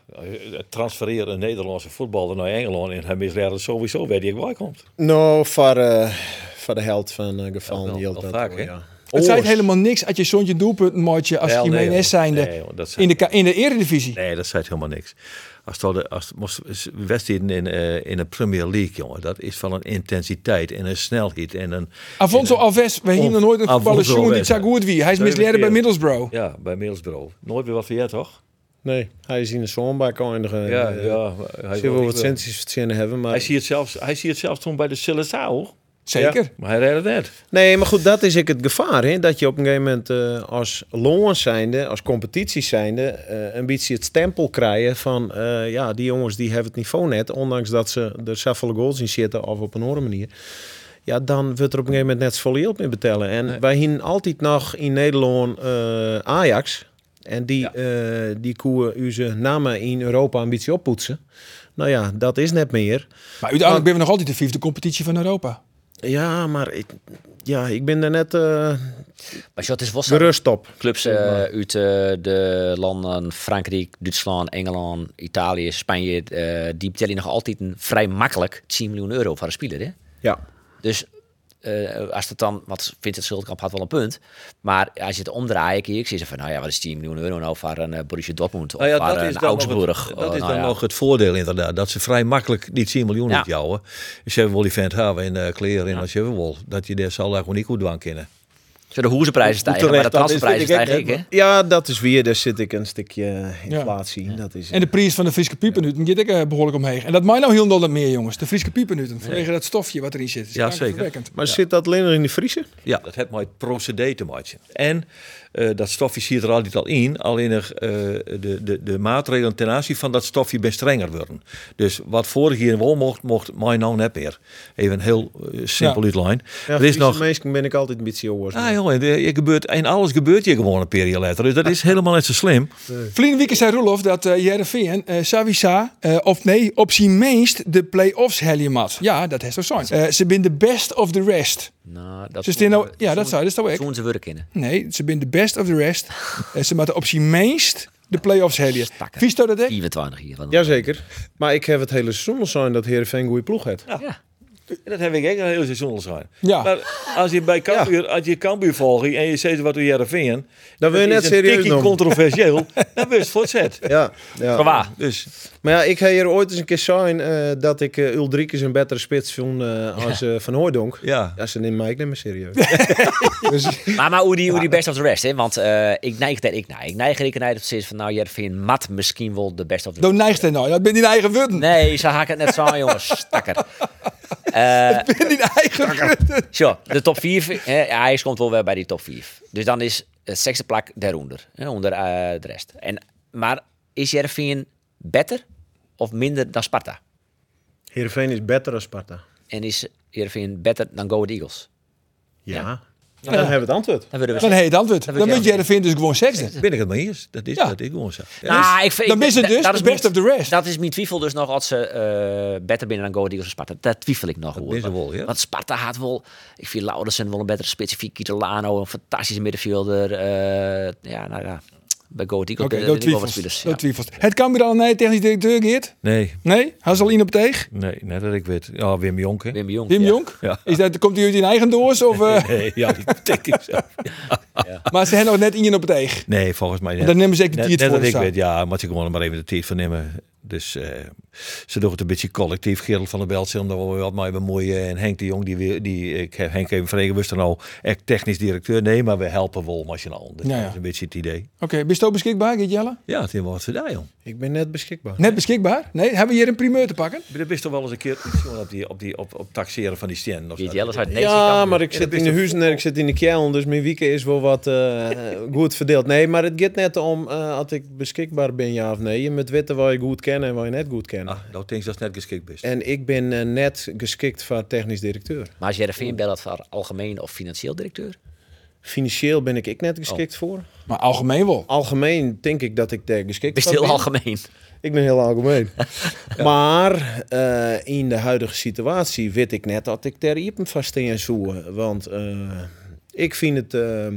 Speaker 7: transfereren een Nederlandse voetballer naar Engeland en hij misleert het sowieso waar die waar komt.
Speaker 6: Nou, voor, eh, voor de held van eh geval
Speaker 7: wel-
Speaker 6: geldt
Speaker 7: wel
Speaker 6: dat
Speaker 7: vaak,
Speaker 6: wel,
Speaker 7: hè?
Speaker 6: ja.
Speaker 3: Het zei
Speaker 6: Oors.
Speaker 3: helemaal niks uit je zoontje doelpunt maatje als
Speaker 7: Wel, nee,
Speaker 3: Jiménez
Speaker 7: joh.
Speaker 3: zijnde
Speaker 7: Nee, joh, dat zei-
Speaker 3: in, de, ka- in de eredivisie.
Speaker 7: Nee, dat zegt helemaal niks. Als het, al de- als het moest wedstrijden in, eh, in de Premier League, jongen, dat is van een intensiteit en een snelheid en een...
Speaker 3: Afonso Alves, we hier nog nooit een
Speaker 7: Afonso
Speaker 3: voetballer zoen die
Speaker 7: Alves,
Speaker 3: zag
Speaker 7: ja.
Speaker 3: goed wie. Hij is
Speaker 7: Zeven
Speaker 3: misleren bij
Speaker 7: keer.
Speaker 3: Middlesbrough.
Speaker 7: Ja, bij Middlesbrough. Nooit weer wat van jij, toch?
Speaker 6: Nee, hij is in de zonbak eindigen.
Speaker 7: Ja,
Speaker 6: Eh,
Speaker 7: ja. maar Hij,
Speaker 6: Ze wil
Speaker 7: wil
Speaker 6: wat
Speaker 7: niet- eh,
Speaker 6: centjes verzinnen hebben, maar...
Speaker 7: hij ziet het zelfs, hij ziet het zelfs toen bij de Silesau,
Speaker 3: Zeker.
Speaker 7: maar hij redde het net.
Speaker 6: Nee, maar goed, dat is ik het gevaar. Hè? Dat je op een gegeven moment eh, als loons zijnde, als competities zijnde, eh, een beetje het stempel krijgen van eh, ja, die jongens die hebben het niveau net, ondanks dat ze er zoveel goals in zitten of op een andere manier. Ja, dan wordt er op een gegeven moment net zoveel geld mee betellen. En wij hingen altijd nog in Nederland eh, Ajax. En die,
Speaker 7: Ja.
Speaker 6: eh die koeien onze namen in Europa een beetje oppoetsen. Nou ja, dat is net meer.
Speaker 3: Maar uiteindelijk ben we nog altijd de vijfde competitie van Europa.
Speaker 6: Ja, maar ik, ja, ik ben daar net eh
Speaker 1: Maar Jot is wel zo.
Speaker 6: gerust op.
Speaker 1: Clubs eh, uit eh, de landen Frankrijk, Duitsland, Engeland, Italië, Spanje, eh, die betalen nog altijd een vrij makkelijk 10 miljoen euro voor een speler. Hè?
Speaker 6: Ja.
Speaker 1: Dus eh, als het dan, want Vincent Schildkamp had wel een punt, maar als je het omdraait, ik, ik zie ze van, nou ja, wat is 10 miljoen euro nou voor een eh, Borussia Dortmund of
Speaker 7: Nou ja,
Speaker 1: voor
Speaker 7: dat is
Speaker 1: een
Speaker 7: dan
Speaker 1: Augsburg?
Speaker 7: Nog het,
Speaker 1: Eh,
Speaker 7: dat is
Speaker 1: nou
Speaker 7: dan
Speaker 1: ja.
Speaker 7: nog het voordeel inderdaad. Dat ze vrij makkelijk die 10 miljoen
Speaker 1: Ja.
Speaker 7: uit jouwen. Ze hebben wel die vent hebben in eh, kleren en als je wil. Dat je daar zal daar gewoon niet goed aan kennen.
Speaker 1: Zo de hoezenprijzen stijgen, maar de transferprijzen stijgen ik, hè?
Speaker 6: Ja, dat is weer. Daar zit ik een stukje
Speaker 3: inflatie
Speaker 6: inflatie Dat is,
Speaker 3: En de prijs van de Friese piepenuten gaat ik eh, behoorlijk omheen. En dat mij nou heel nog meer, jongens. De Friese piepenuten. Vanwege dat stofje wat erin zit.
Speaker 7: Ja, zeker.
Speaker 3: kankerverwekkend.
Speaker 6: maar zit dat alleen nog in de vriezer?
Speaker 7: Ja, dat heeft maar het procedé te maken. En eh, dat stofje zit er altijd al in, alleen er, eh, de, de, de maatregelen ten aanzien van dat stofje best strenger worden. Dus wat vorig jaar wel mocht, mocht mij nou net meer. Even heel eh, simpel
Speaker 3: Ja.
Speaker 7: uitlijn.
Speaker 6: Ja,
Speaker 7: er is nog
Speaker 6: Meestal ben ik altijd een beetje jongers.
Speaker 7: Ah jongen, de- je gebeurt, en alles gebeurt hier gewoon een periode later. Dus dat is helemaal net zo slim.
Speaker 3: Verleden weekend zei Roelof dat eh Jereveen, eh Savisa, eh, of nee, op zijn minst de play-offs helemaal. mat. Ja, dat is zo zijn. Eh, ze zijn de best of the rest.
Speaker 1: Nou, dat
Speaker 3: Ze staan nou- ja, dat zou- dat is nou ik.
Speaker 1: Zoen ze werk in.
Speaker 3: Nee, ze zijn de best of the rest. Eh, ze moeten op zijn minst de play-offs helemaal. Vies dat dat? hè?
Speaker 1: 24 hier. want-
Speaker 6: Jazeker. Maar ik heb het hele seizoen al zijn dat Heerenveen een goede ploeg heeft.
Speaker 7: En dat heb ik echt een heel seizoen al zijn.
Speaker 3: Ja.
Speaker 7: Maar als je bij Cambuur, als je Cambuur volgt en je zegt wat doe je ervan,
Speaker 6: Dan wil je net serieus
Speaker 7: tikkie
Speaker 6: noemen.
Speaker 7: controversieel, dan wist voortzet.
Speaker 6: Ja, ja.
Speaker 7: Qua. Dus
Speaker 6: Maar ja, ik heb hier ooit eens een keer zijn eh, dat ik eh Ulrike een betere spits vond eh, als eh, Van Hooijdonk.
Speaker 7: ja.
Speaker 6: Ja, ze nemen mij ik neem me serieus.
Speaker 1: Maar, maar hoe, die, hoe die best of the rest, hè? Want eh, ik neig daar ik naar. Ik neig er ik naar dat ze van, nou, Jervin Mat misschien wel de best of the
Speaker 3: Dan
Speaker 1: rest.
Speaker 3: neigt hij nou. Dat ben in eigen wurden.
Speaker 1: Nee, ze haken het net zo aan, jongens. Stakker. Eh
Speaker 3: Ben in eigen wurden.
Speaker 1: zo, de top 4. Eh, hij komt wel weer bij die top 4. Dus dan is het zesde plak daaronder. Hè, onder eh, de rest. En, maar is Jervin beter of minder dan Sparta?
Speaker 6: Heerenveen is beter dan Sparta.
Speaker 1: En is Jervin beter dan Go Ahead Eagles?
Speaker 6: Ja. Nou, dan hebben we het antwoord.
Speaker 1: Dan willen we
Speaker 3: Dan heet het antwoord.
Speaker 1: Dat
Speaker 3: Dan
Speaker 1: weet
Speaker 3: moet
Speaker 1: jij.
Speaker 3: Jereveen dus gewoon sexen.
Speaker 7: ben ik het mee eens. Dat is,
Speaker 3: Ja.
Speaker 7: dat is gewoon zo. Ja.
Speaker 1: Nou, ik vind,
Speaker 3: dan
Speaker 1: ik-
Speaker 3: is het
Speaker 1: dat-
Speaker 3: dus
Speaker 1: dat
Speaker 3: de best
Speaker 1: mijn-
Speaker 3: of the rest.
Speaker 1: Dat is mijn twijfel dus nog als ze eh, beter binnen dan Go Ahead Eagles en Sparta. Daar twijfel ik nog over.
Speaker 7: is er wel, ja.
Speaker 1: Want Sparta had wel... Ik vind Laudersen wel een betere spits. Ik vind Kitolano een fantastische middenvelder. eh, ja, nou ja. Bij Go Ahead Eagles
Speaker 3: Oké,
Speaker 1: ben-
Speaker 3: dat
Speaker 1: ben ik wel wat
Speaker 3: twijfels.
Speaker 1: spelers.
Speaker 3: Dat
Speaker 1: ja.
Speaker 3: twijfels. Het kan al nee, technisch eh, directeur Geert.
Speaker 7: Nee,
Speaker 3: Nee, hij is al in op teeg.
Speaker 7: nee, net dat ik weet. Ja, Wim Jonk, hè?
Speaker 1: Wim de Jong.
Speaker 3: Wim
Speaker 1: ja.
Speaker 3: Jonk.
Speaker 7: Ja.
Speaker 3: Is dat, komt hij uit in eigen doos? Of, eh,
Speaker 7: Nee, ja, die denk ik zo.
Speaker 3: Maar ze hebben nog net in op teeg.
Speaker 7: Nee, volgens mij net.
Speaker 3: Dan nemen ze zeker
Speaker 7: net,
Speaker 3: die het
Speaker 7: net
Speaker 3: voor
Speaker 7: dat ik
Speaker 3: staan.
Speaker 7: weet, ja, moet ik gewoon maar even de tijd van nemen. Dus eh, ze doen het een beetje collectief. Gerald van der Belt zit er wel wat mee bemoeien. En Henk de Jong, die, wil- die ik heb Henk even vregen, wist dan al echt technisch directeur. Nee, maar we helpen wel nationaal. Dat
Speaker 3: Ja, ja.
Speaker 7: is een beetje het idee.
Speaker 3: Oké, ben je zo beschikbaar, Geert Jelle?
Speaker 7: Ja, het is wel wat ze daar, joh.
Speaker 6: Ik ben net beschikbaar.
Speaker 3: Net beschikbaar? Nee, hebben we hier een primeur te pakken?
Speaker 7: Maar dat wist toch wel eens een keer iets, jongen, op, die, op, die, op, op taxeren van die stenen. of
Speaker 1: Geert
Speaker 7: zo.
Speaker 1: Jellers uit Nederland.
Speaker 6: Ja, maar ik zit
Speaker 7: dat is
Speaker 6: in de
Speaker 7: toch-
Speaker 6: huizen en ik zit in de kelder, dus mijn weekend is wel wat eh, goed verdeeld. Nee, maar het gaat net om eh als ik beschikbaar ben, ja of nee. Je moet weten wat je goed kent en wat je net goed kent.
Speaker 7: Ah, nou, denk ik dat het net geschikt is.
Speaker 6: En ik ben eh, net geschikt voor technisch directeur.
Speaker 1: Maar is Jervin belt voor algemeen of financieel directeur?
Speaker 6: Financieel ben ik, ik
Speaker 7: Oh.
Speaker 6: net geschikt voor.
Speaker 3: Maar algemeen wel.
Speaker 1: Oh,
Speaker 6: Algemeen denk ik dat ik daar geschikt
Speaker 1: Is
Speaker 6: voor
Speaker 1: het heel
Speaker 6: ben.
Speaker 1: algemeen?
Speaker 6: Ik ben heel algemeen. Maar eh, in de huidige situatie weet ik net dat ik daar iepen vast in zoeken. Want eh, ik vind het. eh,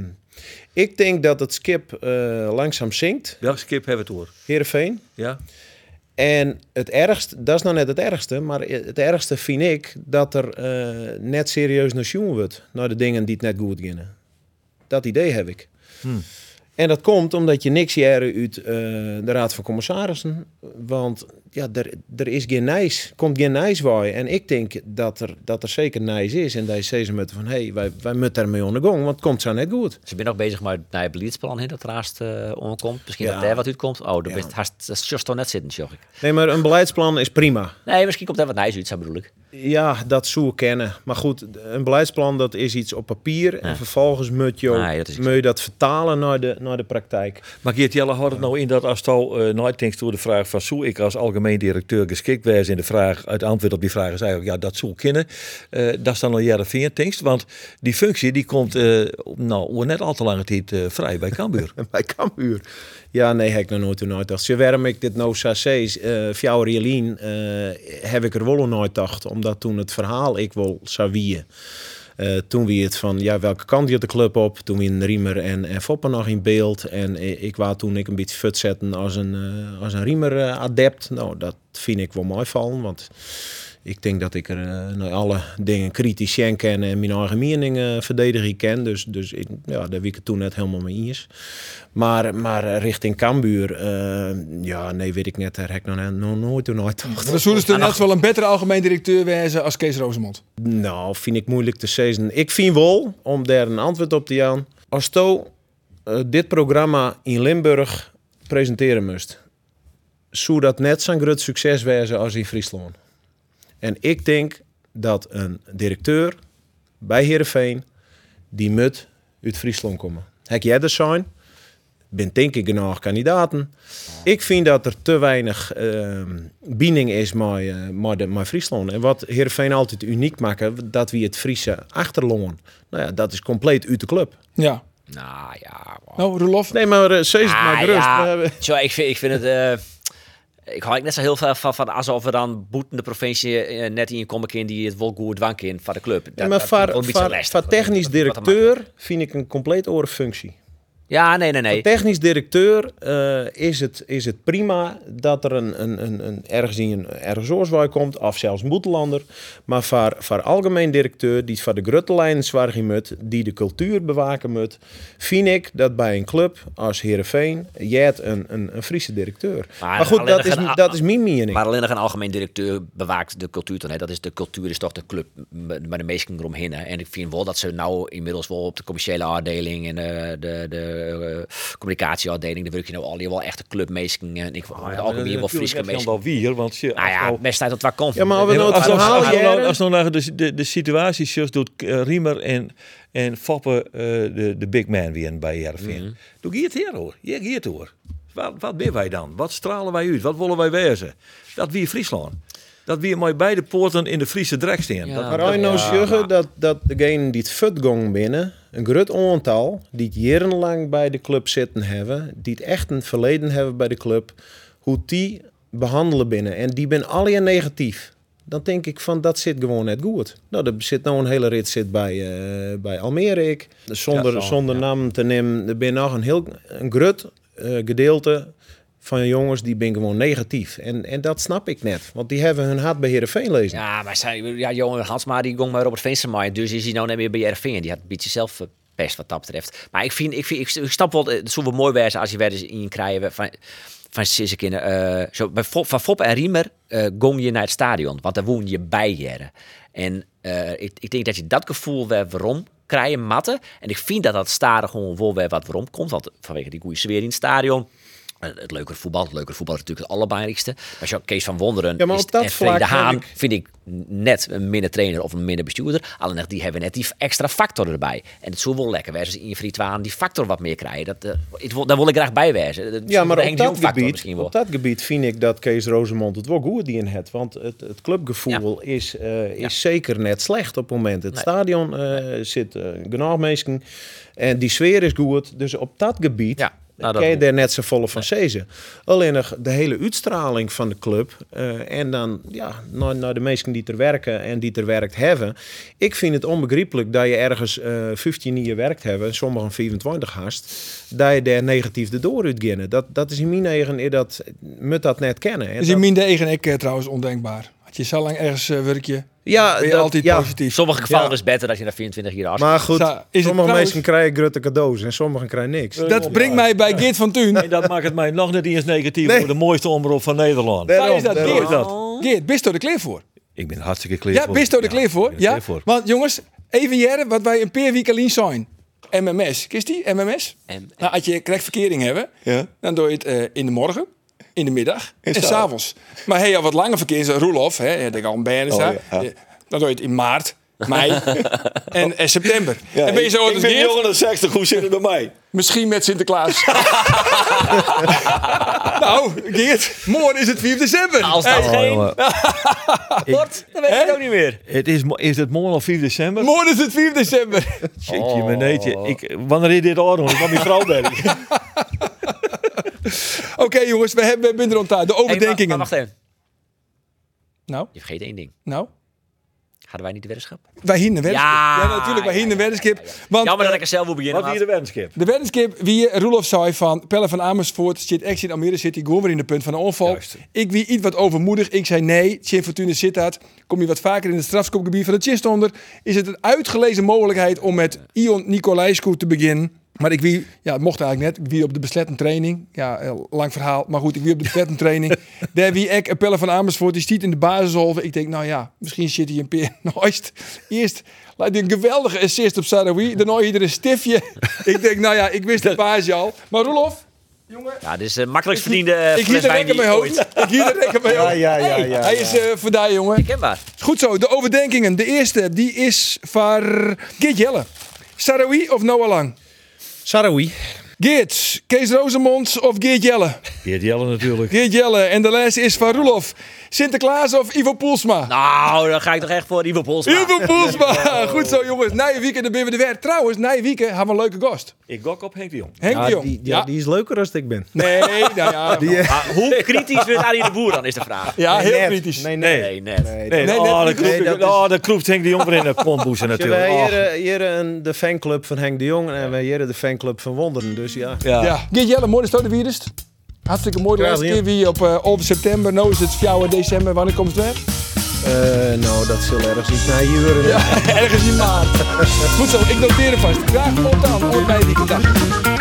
Speaker 6: ik denk dat het skip eh, langzaam zinkt,
Speaker 7: Welke skip hebben we het hoor?
Speaker 6: Heerenveen.
Speaker 7: Ja?
Speaker 6: En het ergste, dat is nou net het ergste, maar het ergste vind ik dat er eh, net serieus naar sjoen wordt. Naar de dingen die het net goed gingen. Dat idee heb ik. En dat komt omdat je niks jaren uit eh, de Raad van Commissarissen. Want ja, er, er is geen nijs. Komt geen nijs bij. En ik denk dat er, dat er zeker nijs is. En deze seizoen met van, hé, hey, wij, wij moeten ermee aan de gang, want het komt zo net goed.
Speaker 1: Ze zijn nog bezig met nou het nieuwe beleidsplan, hè, dat raast eh omkomt. Misschien
Speaker 6: Ja.
Speaker 1: dat daar wat uitkomt. Oh, dan
Speaker 6: Ja.
Speaker 1: bent haast dat is just al net zitten, zag ik.
Speaker 6: Nee, maar een beleidsplan is prima.
Speaker 1: Nee, misschien komt daar wat nijs uit, zo bedoel ik.
Speaker 6: Ja, dat zou ik kennen. Maar goed, een beleidsplan dat is iets op papier. En vervolgens moet je, ook-
Speaker 1: Nee, dat is-
Speaker 6: moet je dat vertalen naar de, naar de praktijk.
Speaker 7: Maar Geert Jelle houdt het nou in dat als Tal uh, nooit denkt door de vraag van zou ik als algemeen directeur geschikt wijs in de vraag, het antwoord op die vraag is eigenlijk ja dat zou ik kunnen. Eh, dat is dan al jaren vier denkst, want die functie die komt eh, op- nou over net al te lange tijd eh, vrij bij Cambuur.
Speaker 6: En bij Cambuur. Ja, nee, heb ik nog nooit, nooit dacht. Zover ik dit nou sacees, eh Fjouwer Jelien, eh, heb ik er wel nog nooit dacht. Omdat toen het verhaal ik wel zou wieën. Eh, toen wie het van, ja, welke kant je de club op? Toen wie een Riemer en, en Foppen nog in beeld. En i- ik was toen ik een beetje fut zetten als een, eh, als een Riemer-adept. nou, dat vind ik wel mooi van, want ik denk dat ik er eh, naar alle dingen kritisch ken en en mijn eigen mening eh, verdedig ik ken. Dus, dus ik, ja, daar wie ik het toen net helemaal mee eens. Maar, maar richting Cambuur, eh, ja, nee, weet ik net, daar heb ik nog, net- nog nooit, nog nooit dacht.
Speaker 3: Dan zullen
Speaker 1: nou.
Speaker 3: ze er net wel een betere algemeen directeur wezen als Kees Rosemond.
Speaker 6: Nou, vind ik moeilijk te zeggen. Ik vind wel, om daar een antwoord op te gaan, als to eh, dit programma in Limburg presenteren moest, zou dat net zo'n groot succes wezen als in Friesland. En ik denk dat een directeur bij Heerenveen, die moet uit Friesland komen. Hek jij er zijn? Ben denk ik genoeg kandidaten. Ik vind dat er te weinig ehm binding is met, eh, met, de- met Friesland. En wat Heerenveen altijd uniek maken, dat we het Friese achterlongen. Nou ja, dat is compleet uit de club.
Speaker 3: Ja.
Speaker 1: Nou ja, wow.
Speaker 3: Nou, Roelof,
Speaker 6: Nee, maar uh, Sees
Speaker 1: Ah,
Speaker 6: maar eh, gerust.
Speaker 1: ja.
Speaker 6: We hebben-
Speaker 1: Tjoh, ik, vind, ik vind het. eh, ik hou ik net zo heel veel van, van alsof we dan boeten de provincie eh, net in komen kind die het wel goed dwank in van de club. Dat,
Speaker 6: Ja, maar
Speaker 1: dat wordt
Speaker 6: voor,
Speaker 1: een beetje
Speaker 6: voor-
Speaker 1: lastig.
Speaker 6: voor technisch
Speaker 1: Wat- wat- wat- wat-
Speaker 6: directeur vind ik een compleet oren functie.
Speaker 1: Ja, nee, nee, nee.
Speaker 6: Voor technisch directeur eh, is, het, is het prima dat er een, een, een, een ergens in een ergens oorswaai komt, of zelfs Moetelander. Maar voor, voor algemeen directeur, die voor de gruttenlijnen zwargen moet, die de cultuur bewaken moet, vind ik dat bij een club als Herenveen jij hebt een, een, een Friese directeur. Maar,
Speaker 1: Maar
Speaker 6: goed,
Speaker 1: alleen
Speaker 6: dat is,
Speaker 1: nog een-
Speaker 6: dat is mijn mening.
Speaker 1: Maar alleen nog een algemeen directeur bewaakt de cultuur dan. Hè. Dat is de cultuur is toch de club m- maar de meesten eromheen. Hè. En ik vind wel dat ze nou inmiddels wel op de commerciële afdeling en eh, de, de eh, communicatieafdeling, daar werk je nou al die wel echte clubmeesken. En ik oh,
Speaker 7: Eh,
Speaker 1: ook weer wel Friese meesken.
Speaker 7: wel wie, want je,
Speaker 1: Nou ja, best tijd dat waar komt.
Speaker 6: ja, maar als we nou het
Speaker 7: als, als,
Speaker 6: verhaal
Speaker 7: als, nou-
Speaker 6: jaren-
Speaker 7: als nou naar de, de, de situatie just doet eh, Riemer en, en Foppe eh, de, de big man weer bij Jervin.
Speaker 3: Mhm.
Speaker 7: Doe hier het hier hoor. Hier, hier het hoor. Wat, wat ben wij dan? Wat stralen wij uit? Wat willen wij wezen? Dat wie Friesland. Dat wie met beide poorten in de Friese drek staan.
Speaker 1: Ja.
Speaker 7: Dat-
Speaker 6: Maar als je nou zeggen dat, dat degene die het futgong binnen, een groot aantal, die het jarenlang bij de club zitten hebben, die het echt een verleden hebben bij de club, hoe die behandelen binnen. En die ben allen negatief. Dan denk ik van, dat zit gewoon net goed. Nou, er zit nou een hele rit zit bij, eh, bij Almere. Ik. Zonder,
Speaker 7: Ja, zo,
Speaker 6: zonder
Speaker 7: ja.
Speaker 6: naam te nemen, er ben nog een heel een grut eh, gedeelte van jongens die ben gewoon negatief. En, en dat snap ik net. Want die hebben hun hart bij Heerenveen lezen.
Speaker 1: Ja, maar zij, ja, Johan Hansma die ging maar Robert Veensema in, dus is hij nou net meer bij RV. Die had een beetje zelf eh, pest wat dat betreft. Maar ik vind, ik vind, ik, ik snap wel, eh, het zou wel mooi wezen als je weer eens in krijgen van van zes kinderen. zo bij Fop, van Fop en Riemer eh gong je naar het stadion, want daar woon je bij jaren. En eh, ik, ik denk dat je dat gevoel weer waarom krijgen matten. En ik vind dat dat stadion gewoon wel weer wat waarom komt, want vanwege die goede sfeer in het stadion. eh, Het leukere voetbal. Het leukere voetbal is natuurlijk het allerbelangrijkste. Maar zo Kees van Wonderen
Speaker 6: Ja, maar
Speaker 1: is
Speaker 6: op dat
Speaker 1: en Freek de
Speaker 6: vlak eh, heb
Speaker 1: Haan
Speaker 6: ik-
Speaker 1: vind ik net een minder trainer of een minder bestuurder. Alleen die hebben net die extra factor erbij. En het zou wel lekker zijn als in Frietwaan die factor wat meer krijgen. Dat, eh, het wil- daar wil ik graag bij wijzen. Dat-
Speaker 6: Ja, maar
Speaker 1: de
Speaker 6: op
Speaker 1: Henk
Speaker 6: dat,
Speaker 1: Jong factor
Speaker 6: gebied,
Speaker 1: misschien wel.
Speaker 6: op dat gebied vind ik dat Kees Rozemond het wel goed die in het. Want het, het clubgevoel is, eh, is zeker net slecht op het moment. Het
Speaker 1: Nee.
Speaker 6: stadion eh, zit eh genoeg mensen en die sfeer is goed. Dus op dat gebied
Speaker 1: Ja, nou, dat
Speaker 6: kan je
Speaker 1: wel.
Speaker 6: daar net zo volle van zezen. Alleen nog de hele uitstraling van de club eh, en dan ja, naar, naar de mensen die er werken en die er werkt hebben. Ik vind het onbegrijpelijk dat je ergens eh 15 jaar werkt hebben, sommigen 25 haast, dat je daar negatief de door uitginnen. Dat, dat is in mijn eigen eer dat eh, moet dat net kennen. En
Speaker 3: is
Speaker 6: dat-
Speaker 3: in mijn eigen ik eh, trouwens ondenkbaar. Want je zo lang ergens eh, werk je,
Speaker 6: Ja,
Speaker 3: ben je
Speaker 6: dat-
Speaker 3: altijd
Speaker 6: ja.
Speaker 1: In
Speaker 3: positief.
Speaker 1: sommige gevallen
Speaker 6: Ja.
Speaker 1: is het beter dat je na 24 jaar afspreekt.
Speaker 6: Maar goed,
Speaker 3: Zo, is het
Speaker 6: sommige
Speaker 3: trouwens-
Speaker 6: mensen krijgen grote cadeaus en sommigen krijgen niks.
Speaker 3: Dat brengt mij bij Geert van Tuin.
Speaker 7: En dat maakt het mij nog net eens negatief
Speaker 6: Nee.
Speaker 7: voor de mooiste omroep van Nederland.
Speaker 3: Daar is dat
Speaker 6: daarom.
Speaker 3: Geert.
Speaker 7: dat.
Speaker 3: Geert, bist door de kleer voor?
Speaker 7: Ik ben hartstikke clear
Speaker 3: Ja,
Speaker 7: voor.
Speaker 3: bist door de kleer
Speaker 7: ik
Speaker 3: voor?
Speaker 7: ben er
Speaker 3: Ja.
Speaker 7: clear voor.
Speaker 3: Want jongens, even jaren wat wij een peer wiekelien zijn. MMS. Kist die? MMS? Nou, als je krijgt verkering hebben, dan doe je het eh, in de morgen. In de middag en s'avonds. Maar hey, al wat lange verkeer, zo'n Roelof, hè, dat ik al een band is daar. Eh, Dan doe je het in maart, mei en, en september. en ben je zo
Speaker 10: ik ben
Speaker 3: Geert?
Speaker 10: jonger dan 60, hoe zit het bij mij?
Speaker 3: Misschien met Sinterklaas. nou, Geert, morgen is het 4 december.
Speaker 1: Als dat
Speaker 7: Oh, jongen.
Speaker 1: dan weet ik het ook niet meer.
Speaker 7: Het is, mo- is het morgen of 4 december?
Speaker 3: Morgen is het 4 december.
Speaker 7: Jeetje, meneetje. Ik, wanneer is dit oorlog? Ik kwam die vrouw bij.
Speaker 3: Oké jongens, we hebben we zijn er ontdaan. De
Speaker 1: Hey, maar-
Speaker 3: overdenkingen.
Speaker 1: maar wacht even.
Speaker 3: Nou,
Speaker 1: Je vergeet één ding.
Speaker 3: nou.
Speaker 1: Hadden wij niet de weddenschap?
Speaker 3: Wij hinden weddenskip.
Speaker 1: Ja,
Speaker 3: Ja, natuurlijk. Wij
Speaker 1: ja,
Speaker 3: hinden
Speaker 1: ja,
Speaker 3: weddenskip. Want
Speaker 1: Jammer dat
Speaker 3: eh,
Speaker 1: ik er zelf wil beginnen.
Speaker 7: Wat hier de wenskip?
Speaker 3: de weddenskip, wie eh, Roelof zei van Pelle van Amersfoort, zit echt in Almere City, gewoon weer in de punt van de onval. Ik wie iets wat overmoedig. Ik zei nee, Chin Fortuna zit dat. Kom je wat vaker in het strafschopgebied van de Chinstonder, is het een uitgelezen mogelijkheid om met Ion Nicolaescu te beginnen. Maar ik wie, ja, het mocht eigenlijk net. Ik wie op de besletten training. Ja, heel lang verhaal. Maar goed, ik wie op de besletten training. Daar wie ik Pelle van Amersfoort, die stiet in de basishalve. Ik denk, nou ja, misschien zit hij een peer nooit. Eerst laat hij een geweldige assist op Sarawi. Daarna hier een stiftje. ik denk, nou ja, ik wist de basis al. Maar Roelof,
Speaker 1: Ja, dit is de makkelijkst verdiende eh,
Speaker 3: ik
Speaker 1: fles
Speaker 3: hier de
Speaker 1: wijn
Speaker 3: rekken
Speaker 1: die
Speaker 3: mee
Speaker 1: ooit.
Speaker 3: hoofd. Ik hier de rekken mee hoofd.
Speaker 6: ja, ja, ja.
Speaker 3: Hij is eh vandaag, jongen.
Speaker 1: Kenbaar.
Speaker 3: Goed zo, de overdenkingen. De eerste, die is van Geert Jelle. Sarawi of Noah Lang?
Speaker 6: Sarawi.
Speaker 3: Geert, Kees Rosemond of Geert Jelle?
Speaker 7: Geert Jelle natuurlijk.
Speaker 3: Geert Jelle. En de les is van Roelof. Sinterklaas of Ivo Poelsma?
Speaker 1: Nou, dan ga ik toch echt voor Ivo Polsma.
Speaker 3: Ivo Poelsma. Goed zo, jongens. Na je weekend dan ben je weer de weer. Trouwens, na je weekend hebben we een leuke gast.
Speaker 7: Ik gok op Henk de Jong.
Speaker 3: Henk
Speaker 6: Ja,
Speaker 3: de Jong.
Speaker 6: die, ja, die is leuker als ik ben.
Speaker 3: Nee, nou ja.
Speaker 1: Maar hoe kritisch wordt Arie de Boer dan, is de vraag.
Speaker 3: ja, heel
Speaker 6: Net.
Speaker 3: kritisch.
Speaker 6: Nee, nee.
Speaker 1: Nee, net.
Speaker 7: Nee,
Speaker 3: nee,
Speaker 7: oh,
Speaker 3: nee,
Speaker 7: dat kroept-
Speaker 6: nee, dat is-
Speaker 7: oh, dat kroept Henk de Jong weer in de pontboezen
Speaker 6: Jullie
Speaker 7: natuurlijk.
Speaker 6: hebben
Speaker 7: Oh.
Speaker 6: hier, eh, hier een, de fanclub van Henk de Jong en wij hier de fanclub van Wonderen. Dus ja.
Speaker 7: Ja.
Speaker 3: Ja. Geert Jelle, mooi dat je er weer is. Hartstikke mooi. De
Speaker 6: Graag
Speaker 3: laatste keer
Speaker 6: gedaan.
Speaker 3: weer op eh, over september. Nu is het 4 december. Wanneer komt het weer?
Speaker 6: Eh, nou, dat zal ergens iets naar hier worden.
Speaker 3: Ergens in maart. Goed zo, ik noteer het vast. Graag tot dan. Ooit bij die dag.